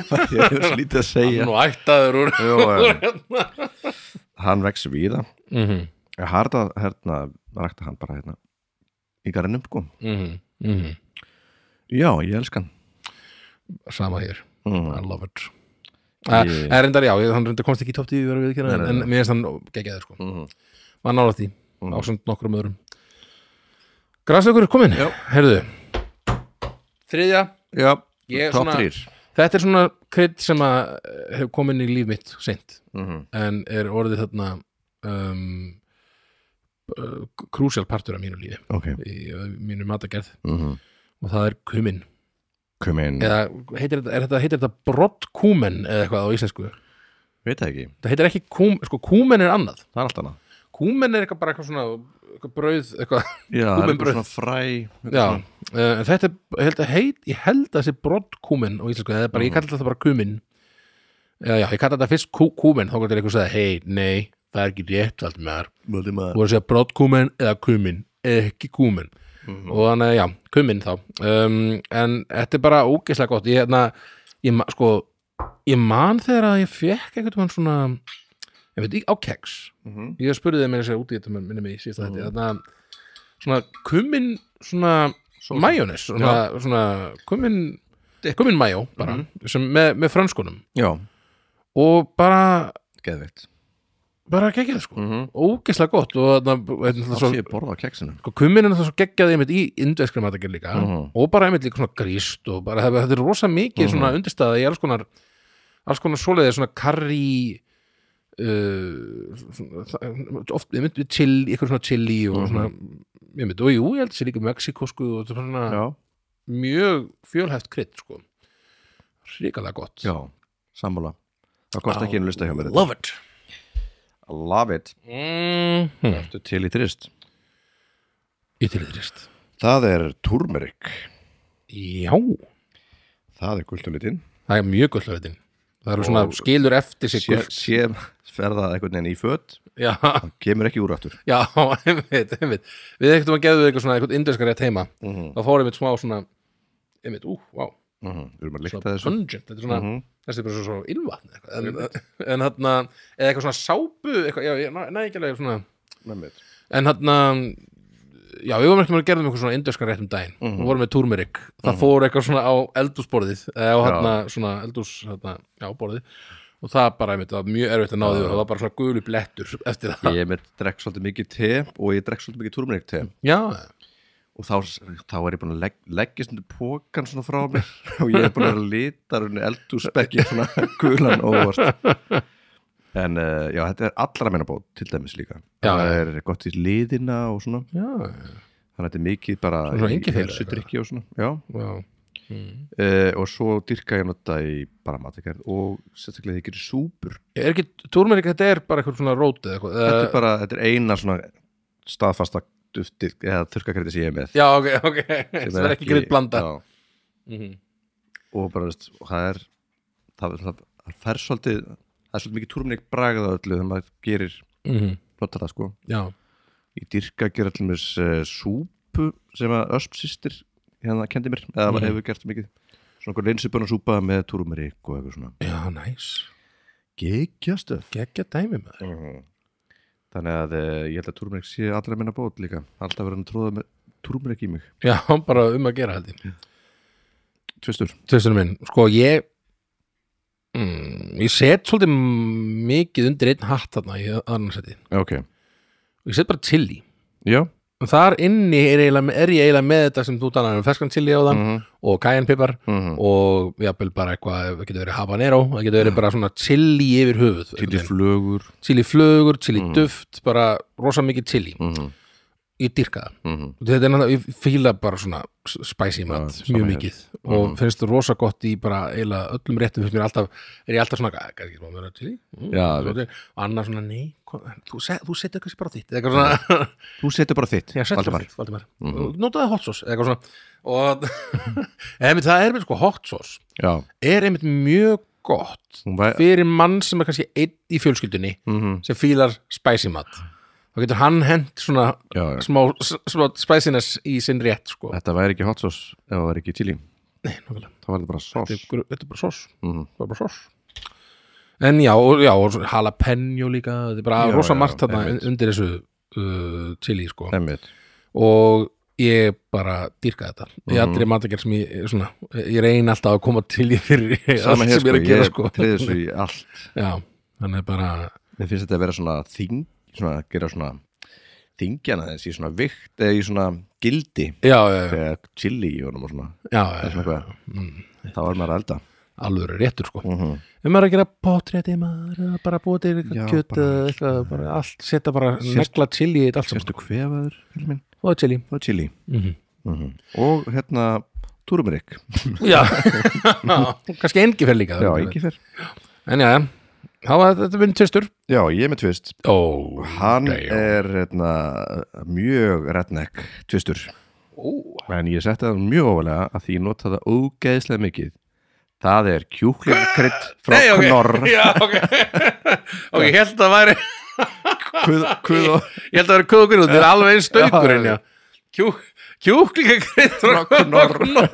Speaker 2: það er svo lítið að segja
Speaker 1: nú ættaður úr
Speaker 2: Jó, um, hann vex víða
Speaker 1: mm -hmm.
Speaker 2: ég harda hérna, rækta hann bara hérna í garðinum sko
Speaker 1: Mm
Speaker 2: Mhm. já, ég elska hann
Speaker 1: Sama hér, I
Speaker 2: mm.
Speaker 1: love it Ah, Það
Speaker 2: Ég-
Speaker 1: er reyndar, já, ég- hann reyndar komst ekki í top 10 vera við
Speaker 2: Nei,
Speaker 1: kynna,
Speaker 2: nei,
Speaker 1: en
Speaker 2: nei.
Speaker 1: mér finnst hann geggjaður sko,
Speaker 2: Mm.
Speaker 1: maður nála því
Speaker 2: Mm.
Speaker 1: ásönd nokkrum öðrum Græslaugur er komin,
Speaker 2: Já.
Speaker 1: heyrðu Þriðja
Speaker 2: já,
Speaker 1: Ég er
Speaker 2: top
Speaker 1: svona-
Speaker 2: 3
Speaker 1: Þetta er svona krydd sem að eh, hefur komin í líf mitt seint
Speaker 2: mm.
Speaker 1: en er orðið þarna um, uh, krúsjál partur af mínu lífi
Speaker 2: ok
Speaker 1: í uh, mínu matagerð
Speaker 2: mm.
Speaker 1: og það er kumin
Speaker 2: kom inn,
Speaker 1: eða heitir þetta, er þetta, heitir þetta brottkúmen eða eitthvað á íslensku
Speaker 2: veit það ekki
Speaker 1: það heitir ekki kúm, sko kúmen er annað
Speaker 2: það er allt annað
Speaker 1: kúmen er eitthvað bara eitthvað svona eitthvað brauð, eitthvað,
Speaker 2: já, það er
Speaker 1: Kúmen
Speaker 2: eitthvað
Speaker 1: brauð.
Speaker 2: svona fræ eitthvað
Speaker 1: já
Speaker 2: svona-
Speaker 1: uh, en þetta, er- ég held að heit, ég held að þessi brottkúmen á íslensku, eða bara, ég kalla þetta bara kumin eða já, ég kalla þetta fyrst kú, kúmen þá gott er eitthvað að segja, hei, nei það er ekki rétt allt með þar,
Speaker 2: Mhm.
Speaker 1: þú
Speaker 2: Valdimar.
Speaker 1: voru að segja brottkúmen eða kumin, ekki kúmen
Speaker 2: Mhm.
Speaker 1: og þannig að já, kuminn þá um, en þetta er bara ógeðslega gott ég, na, ég, ma- sko, ég man þegar að ég fekk einhvern veginn svona ég veit, í- á keks
Speaker 2: Mhm.
Speaker 1: ég spurði þeim meira sér út í þetta minni mig í síðasta
Speaker 2: Mhm.
Speaker 1: þetta þannig að svona kuminn svona
Speaker 2: Sósa.
Speaker 1: majónis svona, svona kuminn
Speaker 2: Dip.
Speaker 1: kuminn majó bara
Speaker 2: Mm.
Speaker 1: sem, með, með franskunum
Speaker 2: já,
Speaker 1: og bara
Speaker 2: geðveikt
Speaker 1: bara geggja það sko
Speaker 2: mm -hmm.
Speaker 1: ógeðslega gott og hérna, þannig
Speaker 2: það sé ég borða á keksinu
Speaker 1: sko, kummin er náttúrulega svo geggjaði einmitt í indveskri matakir líka
Speaker 2: Mhm.
Speaker 1: og bara einmitt líka svona gríst og bara það- þetta er rosa mikið
Speaker 2: Mhm.
Speaker 1: svona undirstaða í alls konar alls konar svoleiðið svona karri uh, svona- það- oft einmitt við chili, eitthvað svona chili og
Speaker 2: Mhm.
Speaker 1: svona einmitt, og jú, ég held sér líka mexikosku og þetta er svona
Speaker 2: já,
Speaker 1: mjög fjölhæft krydd sko ríkalega gott
Speaker 2: já, sammála það kosti ekki einu lista hjá mér þetta.
Speaker 1: Love it
Speaker 2: love it
Speaker 1: mm -hmm.
Speaker 2: Ertu til í trist
Speaker 1: Í tilýðrist
Speaker 2: það er turmerik
Speaker 1: Já,
Speaker 2: það er gultulitinn
Speaker 1: það er mjög gullöðin Það eru svona
Speaker 2: Og-
Speaker 1: skilur eftir sig
Speaker 2: sé,
Speaker 1: gult
Speaker 2: sé ferða einhvern veginn í föt
Speaker 1: Já,
Speaker 2: það kemur ekki úr aftur
Speaker 1: já, einmitt, einmitt Við ekkert um að gefa þau eitthvað svona eitthvað indverskan rétt heima
Speaker 2: mm -hmm.
Speaker 1: þá fór einmitt smá svona einmitt, ú, vá,
Speaker 2: Mhm. við erum að líkta
Speaker 1: svona
Speaker 2: þessu
Speaker 1: pungent þetta er svona,
Speaker 2: Mhm.
Speaker 1: þessi er bara svo, svo ilmvatn eitthvað. en, en þarna, eða eitthvað svona sápu eitthvað, já, ég, næ, ekki alveg svona
Speaker 2: Einmitt.
Speaker 1: en þarna já, við vorum ekki með að gerðum eitthvað svona indverskan rétt um daginn
Speaker 2: Mhm.
Speaker 1: og vorum með túrmerik, það fór eitthvað svona á eldúsborðið, eða á
Speaker 2: Já.
Speaker 1: þarna svona eldús, þarna, já, borðið og það bara, einmitt, það var mjög erfitt að náðu
Speaker 2: Já.
Speaker 1: og það var bara svona gulu blettur eftir það
Speaker 2: ég með drekk svolítið mikið te og ég drekk svolítið mikið turmerik te
Speaker 1: já,
Speaker 2: og þá, þá er ég búin að legg, leggja stundu pókan svona frá mér og ég er búin að lita eldu spekki svona gulan óvart en uh, já, þetta er allra meina bót til dæmis líka
Speaker 1: Já,
Speaker 2: það
Speaker 1: já.
Speaker 2: er gott í liðina og svona
Speaker 1: já,
Speaker 2: þannig að þetta er mikið bara
Speaker 1: Svona
Speaker 2: í
Speaker 1: engifer,
Speaker 2: heilsudrykki og svona já,
Speaker 1: já
Speaker 2: uh, og svo dyrka ég nota í bara matakærð og sérstaklega þegar ég gerir súpur
Speaker 1: Er ekki, túrmerik, þetta er bara eitthvað svona rót eða eitthvað
Speaker 2: þetta
Speaker 1: eða-
Speaker 2: er bara, þetta er eina svona staðfasta duftið eða þurrkakræti sem ég er með
Speaker 1: Já, ok, ok, það er ekki greitt blanda
Speaker 2: já,
Speaker 1: Mhm.
Speaker 2: og bara, veist, og það er það, það, það fer svolítið það er svolítið mikið túrumleik bragað á öllu þegar maður gerir,
Speaker 1: Mhm.
Speaker 2: notar það sko
Speaker 1: Já,
Speaker 2: ég dyrka að gera allir mér uh, súpu sem að ösp sýstir hérna kendi mér, eða
Speaker 1: Mhm.
Speaker 2: hefur gert mikið svona okkur linsibunna súpa með túrumleik og eitthvað svona
Speaker 1: já, næs
Speaker 2: geggjastöf
Speaker 1: Gekkja dæmi maður
Speaker 2: Mhm. þannig að uh, ég held að túrumleik sé allra minna bót líka alltaf verður hann tróða með túrumleik í mig
Speaker 1: Já, bara um að gera held ég
Speaker 2: tvistur
Speaker 1: Tvistunum minn, sko ég mm, Ég set svolítið mikið undir einn hatt þarna í annarsæti
Speaker 2: ok,
Speaker 1: Ég set bara chili
Speaker 2: já
Speaker 1: Og Þar inni er, eiginlega, er ég eiginlega með þetta sem þú talar um ferskan chili á þann og kajanpipar
Speaker 2: Mhm.
Speaker 1: og jafnvel bara eitthvað, það getur verið habanero það getur verið bara svona Mm. chili yfir höfuð
Speaker 2: til í flögur
Speaker 1: chili flögur, chili
Speaker 2: Mm.
Speaker 1: duft bara rosa mikið chili
Speaker 2: Mhm.
Speaker 1: ég dyrka það
Speaker 2: Mhm.
Speaker 1: þetta er náttúrulega, ég fíla bara svona s- spicy mat,
Speaker 2: sama
Speaker 1: mjög
Speaker 2: hér. Mm.
Speaker 1: mikið og finnst það rosa gott í bara eiginlega öllum réttum finnst mér alltaf, er ég alltaf svona "Ah, kannski smá meira chili, mm,
Speaker 2: Já,
Speaker 1: svo til." og annar svona, nei, kom, þú, se, þú setur kannski bara þitt, eða eitthvað svona
Speaker 2: þú setur bara þitt
Speaker 1: Já, settu
Speaker 2: Mm. Valdimar.
Speaker 1: bara þitt, Valdimar
Speaker 2: Mhm.
Speaker 1: og notaði hot sauce, eða eitthvað svona og eða, einmitt, það er með sko hot sauce
Speaker 2: Já,
Speaker 1: er einmitt mjög gott
Speaker 2: Hún væ...
Speaker 1: fyrir mann sem er kannski einn í fjölskyldunni
Speaker 2: mm
Speaker 1: sem fílar spicy mat þá getur hann hent svona
Speaker 2: já, já.
Speaker 1: smá, s- smá spiciness í sinn rétt sko.
Speaker 2: Þetta væri ekki hot sauce ef það væri ekki chili
Speaker 1: Nei, nákvæmlega.
Speaker 2: þá væri þetta bara sós
Speaker 1: þetta, er gru- þetta er bara sós
Speaker 2: Mhm.
Speaker 1: það er bara sós en já, og, já, og svo jalapeno líka þetta er bara
Speaker 2: Já,
Speaker 1: rosa
Speaker 2: já,
Speaker 1: margt þarna
Speaker 2: einmitt.
Speaker 1: undir þessu uh, chili sko
Speaker 2: Einmitt.
Speaker 1: og ég bara dýrka þetta
Speaker 2: Mhm.
Speaker 1: í allri matakjær sem ég svona, ég reyni alltaf að koma til í fyrir
Speaker 2: Sama
Speaker 1: allt sem
Speaker 2: hér
Speaker 1: ég er að gera sko
Speaker 2: Ég treði þessu í allt
Speaker 1: já, þannig er bara
Speaker 2: Mér finnst þetta að vera svona þing svona, gera svona þingjana þessi í svona vikt eða í svona gildi
Speaker 1: já, já, já,
Speaker 2: þegar chili í honum og svona,
Speaker 1: já,
Speaker 2: það er
Speaker 1: já, mm,
Speaker 2: svona eitthvað þá er maður að elda
Speaker 1: alveg réttur sko
Speaker 2: mm -hmm.
Speaker 1: ef maður er að gera potrétti, maður er að bara búa til
Speaker 2: Já,
Speaker 1: eitthvað kjöt,
Speaker 2: bara-
Speaker 1: eða eitthvað, bara allt setja bara negla chili í þetta allt saman
Speaker 2: Sérstu kvefaður, fyrir minn,
Speaker 1: og chili
Speaker 2: það er chili Mhm.
Speaker 1: mm
Speaker 2: og hérna túrumirik
Speaker 1: já, kannski engifer líka
Speaker 2: Já, engifer
Speaker 1: en já, já. það var þetta minn tvistur
Speaker 2: Já, ég er með tvist
Speaker 1: ó,
Speaker 2: Hann
Speaker 1: Damn.
Speaker 2: er hérna, mjög redneck
Speaker 1: ó,
Speaker 2: tvistur en ég setti það mjög ofalega að því ég nota það ógeðslega mikið það er kjúklingakrydd frá
Speaker 1: Nei, ok.
Speaker 2: Knorr
Speaker 1: já, ok ok, ég held að það væri
Speaker 2: Kuð, kuð og
Speaker 1: ég held að það væri kökurinn, þetta er alveg einn staukurinn
Speaker 2: Já,
Speaker 1: já. Kjú, kjúklingakreitt frá
Speaker 2: Knorr.
Speaker 1: Knorr.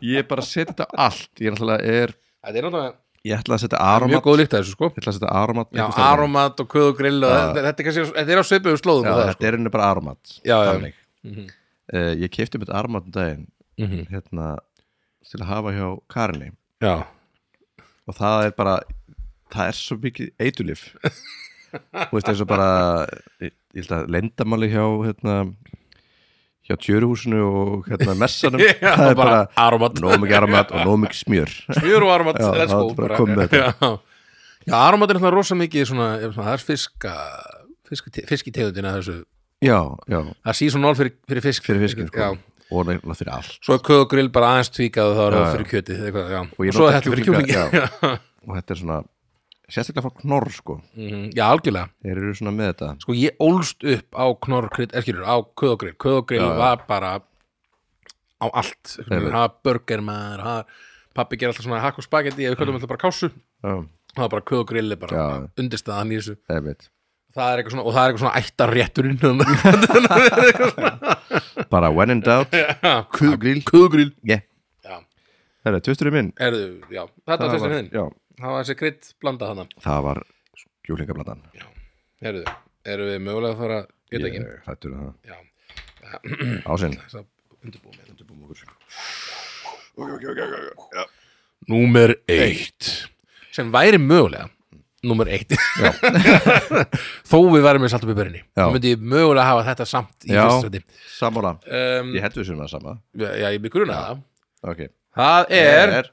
Speaker 2: ég bara setja þetta á allt ég ætla, er,
Speaker 1: þetta er náttúrulega
Speaker 2: ég ætla að setja
Speaker 1: mjög
Speaker 2: aromat
Speaker 1: góð líkt að þessu sko
Speaker 2: ég ætla að setja aromat
Speaker 1: já,
Speaker 2: einhvers staðar.
Speaker 1: aromat og köð og grill og þetta, þetta, er kannski, þetta er á svipið um slóðum
Speaker 2: já,
Speaker 1: og það,
Speaker 2: þetta er henni bara aromat
Speaker 1: Já, já.
Speaker 2: þannig. Eh, ég kefti mitt aromat um daginn
Speaker 1: Mhm.
Speaker 2: hérna, til að hafa hjá Karinni
Speaker 1: já.
Speaker 2: og það er bara það er svo mikið eitulif þú veist eins og bara ég ég held að lendamáli hjá hérna, hjá tjöruhúsinu og hérna messanum
Speaker 1: Já,
Speaker 2: það er
Speaker 1: bara
Speaker 2: bara
Speaker 1: aromat.
Speaker 2: nóg mikið aromat og nóg mikið smjör
Speaker 1: smjör og aromat,
Speaker 2: Já,
Speaker 1: let's
Speaker 2: það
Speaker 1: go
Speaker 2: er bara komið með
Speaker 1: já. já, aromat er náttúrulega rosa mikið svona, ef svona, það er fiska fisk, fiskitegundina þessu
Speaker 2: já, já,
Speaker 1: það er seasonal fyrir, fyrir fisk
Speaker 2: fyrir fiskin sko.
Speaker 1: já.
Speaker 2: og nefnilega fyrir allt
Speaker 1: svo er köð og grill bara aðeins tvíkað og það er
Speaker 2: Já,
Speaker 1: já,
Speaker 2: já.
Speaker 1: fyrir kjötið eitthvað, já.
Speaker 2: Og ég
Speaker 1: og svo
Speaker 2: nota
Speaker 1: þetta fyrir
Speaker 2: kjúklinga,
Speaker 1: kjúklingi já.
Speaker 2: og þetta er svona sérstaklega frá knorr sko
Speaker 1: Mhm, já, algjörlega
Speaker 2: þeir eru svona með þetta
Speaker 1: sko ég ólst upp á knorrkrydd erkjörur, á köð og grill, köð og grill
Speaker 2: Já, já.
Speaker 1: var bara á allt
Speaker 2: Einmitt.
Speaker 1: hafa burger maður hafa, pappi ger alltaf svona hakk og spagetti við köllum alltaf bara kásu,
Speaker 2: já,
Speaker 1: það var bara köð og grill er bara
Speaker 2: Mm. Já.
Speaker 1: undirstaðan í þessu
Speaker 2: einmitt.
Speaker 1: það er eitthvað svona, og það er eitthvað svona ættarrétturinn þannig
Speaker 2: bara when in doubt kugrill
Speaker 1: Kuðgrill
Speaker 2: yeah.
Speaker 1: um- Já.
Speaker 2: það er tvisturinn minn
Speaker 1: Erðu, já, þetta var
Speaker 2: var,
Speaker 1: tvisturinn þinn
Speaker 2: já,
Speaker 1: Það var þessi krydd blanda hana
Speaker 2: það var kjúlingabladan
Speaker 1: Erðu, eru við mögulega að fara Ég veit ekki,
Speaker 2: hættur um það
Speaker 1: já,
Speaker 2: Ásinn
Speaker 1: þess að undirbúum við Undirbúum okkur Númer eitt Sem væri mögulega Númer eitt Þó við væri með salt og piparinni
Speaker 2: Já.
Speaker 1: Þá myndi ég mögulega hafa þetta samt í
Speaker 2: Já.
Speaker 1: fyrst sæti
Speaker 2: Sammála
Speaker 1: um,
Speaker 2: Ég hættu þessum að sama
Speaker 1: Já, ég byggur hún að það
Speaker 2: Ok
Speaker 1: Það er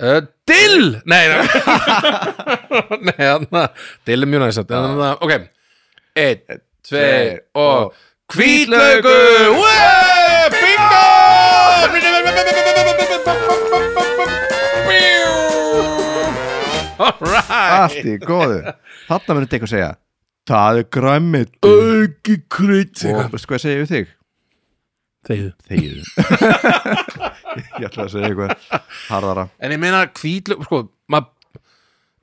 Speaker 1: Uh, dill! Nei, nei, nei hana, dill er mjög næst samt, en þarna- Ok, einn, tvei
Speaker 2: tveir, og-
Speaker 1: og Hvítlaugur! Ué, Bingo! Alright
Speaker 2: Allt í góðu Þarna verður eitthvað að segja Það er græmið
Speaker 1: Auki krydd
Speaker 2: Og veistu hvað ég segi við þig?
Speaker 1: Þegiðu
Speaker 2: Þegið Ég ætla að segja eitthvað Harðara
Speaker 1: En ég meina hvítlaug, sko, maður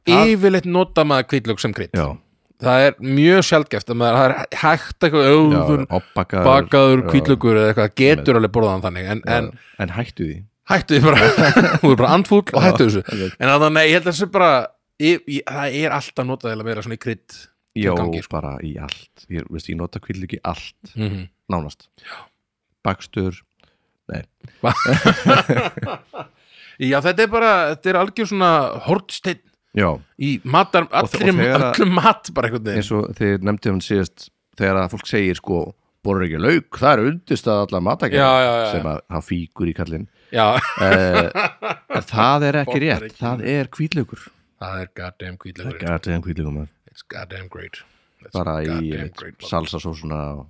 Speaker 2: Það-
Speaker 1: Yfirleitt nota maður hvítlaug sem krydd
Speaker 2: Já
Speaker 1: Það er mjög sjaldgæft að maður það er hægt eitthvað öður
Speaker 2: Oppbakaður
Speaker 1: bakaður
Speaker 2: Já.
Speaker 1: kvítlaugur eða eitthvað getur alveg borðaðan þannig en, en
Speaker 2: En hættu því
Speaker 1: hættu því bara, þú er bara andfúll og hættu þessu
Speaker 2: einmitt.
Speaker 1: en þannig, nei, ég held að þessu bara ég, ég, það er alltaf notað eða meira svona í krydd
Speaker 2: Já,
Speaker 1: gangi, sko.
Speaker 2: bara í allt Ég, veist, ég nota kvillig í allt
Speaker 1: mm -hmm.
Speaker 2: Nánast Já Bakstur
Speaker 1: já, þetta er bara, þetta er algjör svona hortsteinn
Speaker 2: Já
Speaker 1: í matar,
Speaker 2: og
Speaker 1: allir,
Speaker 2: þegar-
Speaker 1: öllum mat bara einhvern veginn
Speaker 2: eins og þið nefndið hann síðast þegar að fólk segir sko borður ekki lauk, það er undist að alla matakæða
Speaker 1: Já, já, já, já.
Speaker 2: sem að hafa fíkur í kallinn
Speaker 1: já,
Speaker 2: eh, en það er ekki
Speaker 1: Borgar
Speaker 2: rétt
Speaker 1: ekki.
Speaker 2: það er kvítlaugur
Speaker 1: það er goddamn kvítlaugur
Speaker 2: goddamn kvítlaugur maður
Speaker 1: it's goddamn great That's
Speaker 2: bara í
Speaker 1: goddamn great, maður.
Speaker 2: salsasósuna og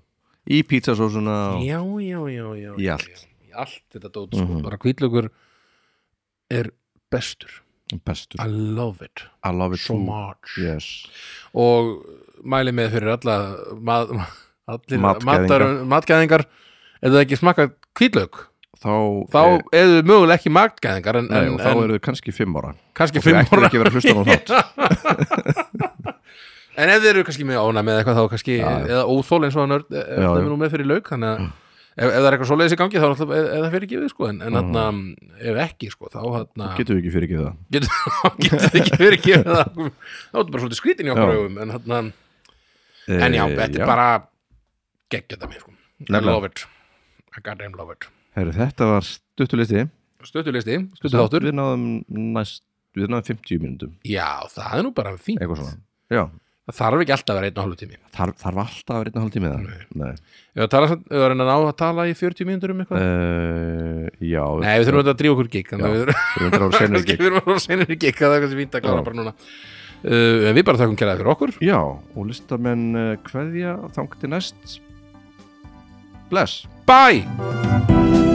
Speaker 2: í pizzasósuna og...
Speaker 1: já, já, já, já
Speaker 2: Í
Speaker 1: já,
Speaker 2: allt.
Speaker 1: já. í allt þetta dót, sko, bara kvítlaugur er bestur
Speaker 2: bestur,
Speaker 1: I love it
Speaker 2: I love it
Speaker 1: so
Speaker 2: too
Speaker 1: much
Speaker 2: yes.
Speaker 1: og mæli með fyrir alla mað, allir
Speaker 2: Matgæðinga.
Speaker 1: matar, matgæðingar eða ekki smakka kvítlaug
Speaker 2: þá,
Speaker 1: Þá
Speaker 2: eh,
Speaker 1: eru þau mögulega ekki magnæðingar en,
Speaker 2: nei,
Speaker 1: en,
Speaker 2: og þá
Speaker 1: en
Speaker 2: eru þau kannski fimm ára
Speaker 1: kannski
Speaker 2: Þau
Speaker 1: fimm
Speaker 2: ættu
Speaker 1: ára
Speaker 2: ekki að vera að hlusta á þátt
Speaker 1: En ef þeir eru kannski með ónæmi eða eitthvað þá kannski,
Speaker 2: Já, já.
Speaker 1: eða óþól eins og hann örd,
Speaker 2: Já, já. Mm.
Speaker 1: örd er nú með fyrir lauk þannig að ef, ef það er eitthvað svoleiðis í gangi þá er alltaf, eða fyrir gefið sko en, en mm. ef ekki sko þá þarna,
Speaker 2: getum við ekki fyrir ekki það
Speaker 1: getur getur það ekki fyrir gefið það þá er þetta bara svolítið skrítin í okkur
Speaker 2: Já.
Speaker 1: augum en, þarna, en já,
Speaker 2: Eh,
Speaker 1: þetta er bara geggjað það mér sko I
Speaker 2: Nefnilega.
Speaker 1: love it, I goddamn love it
Speaker 2: Heru, þetta var stuttulisti
Speaker 1: Stöttulisti, stöttuþáttur
Speaker 2: við náðum næst við náðum 50 minnundum
Speaker 1: Já, það er nú bara fínt
Speaker 2: eitthvað svona já
Speaker 1: Það þarf ekki alltaf að vera einn og hálfu tími
Speaker 2: Þar, þarf alltaf að vera einn og hálf tími það
Speaker 1: Nei.
Speaker 2: Nei.
Speaker 1: Ef að tala, ef að reyna að ná að tala í 40 mínútur um eitthvað
Speaker 2: Uh, já
Speaker 1: Nei, við þurfum auðvitað að drífa okkur gig þannig að
Speaker 2: Já.
Speaker 1: við þurfum-
Speaker 2: við þurfum að vera
Speaker 1: kannski
Speaker 2: senur
Speaker 1: við erum að senir í gig það er kannski fínt að klára
Speaker 2: Já.
Speaker 1: bara núna uh, en við bara þakkum kæraði fyrir okkur
Speaker 2: já og listamenn uh, kveðja þangt til næst bless
Speaker 1: Bye!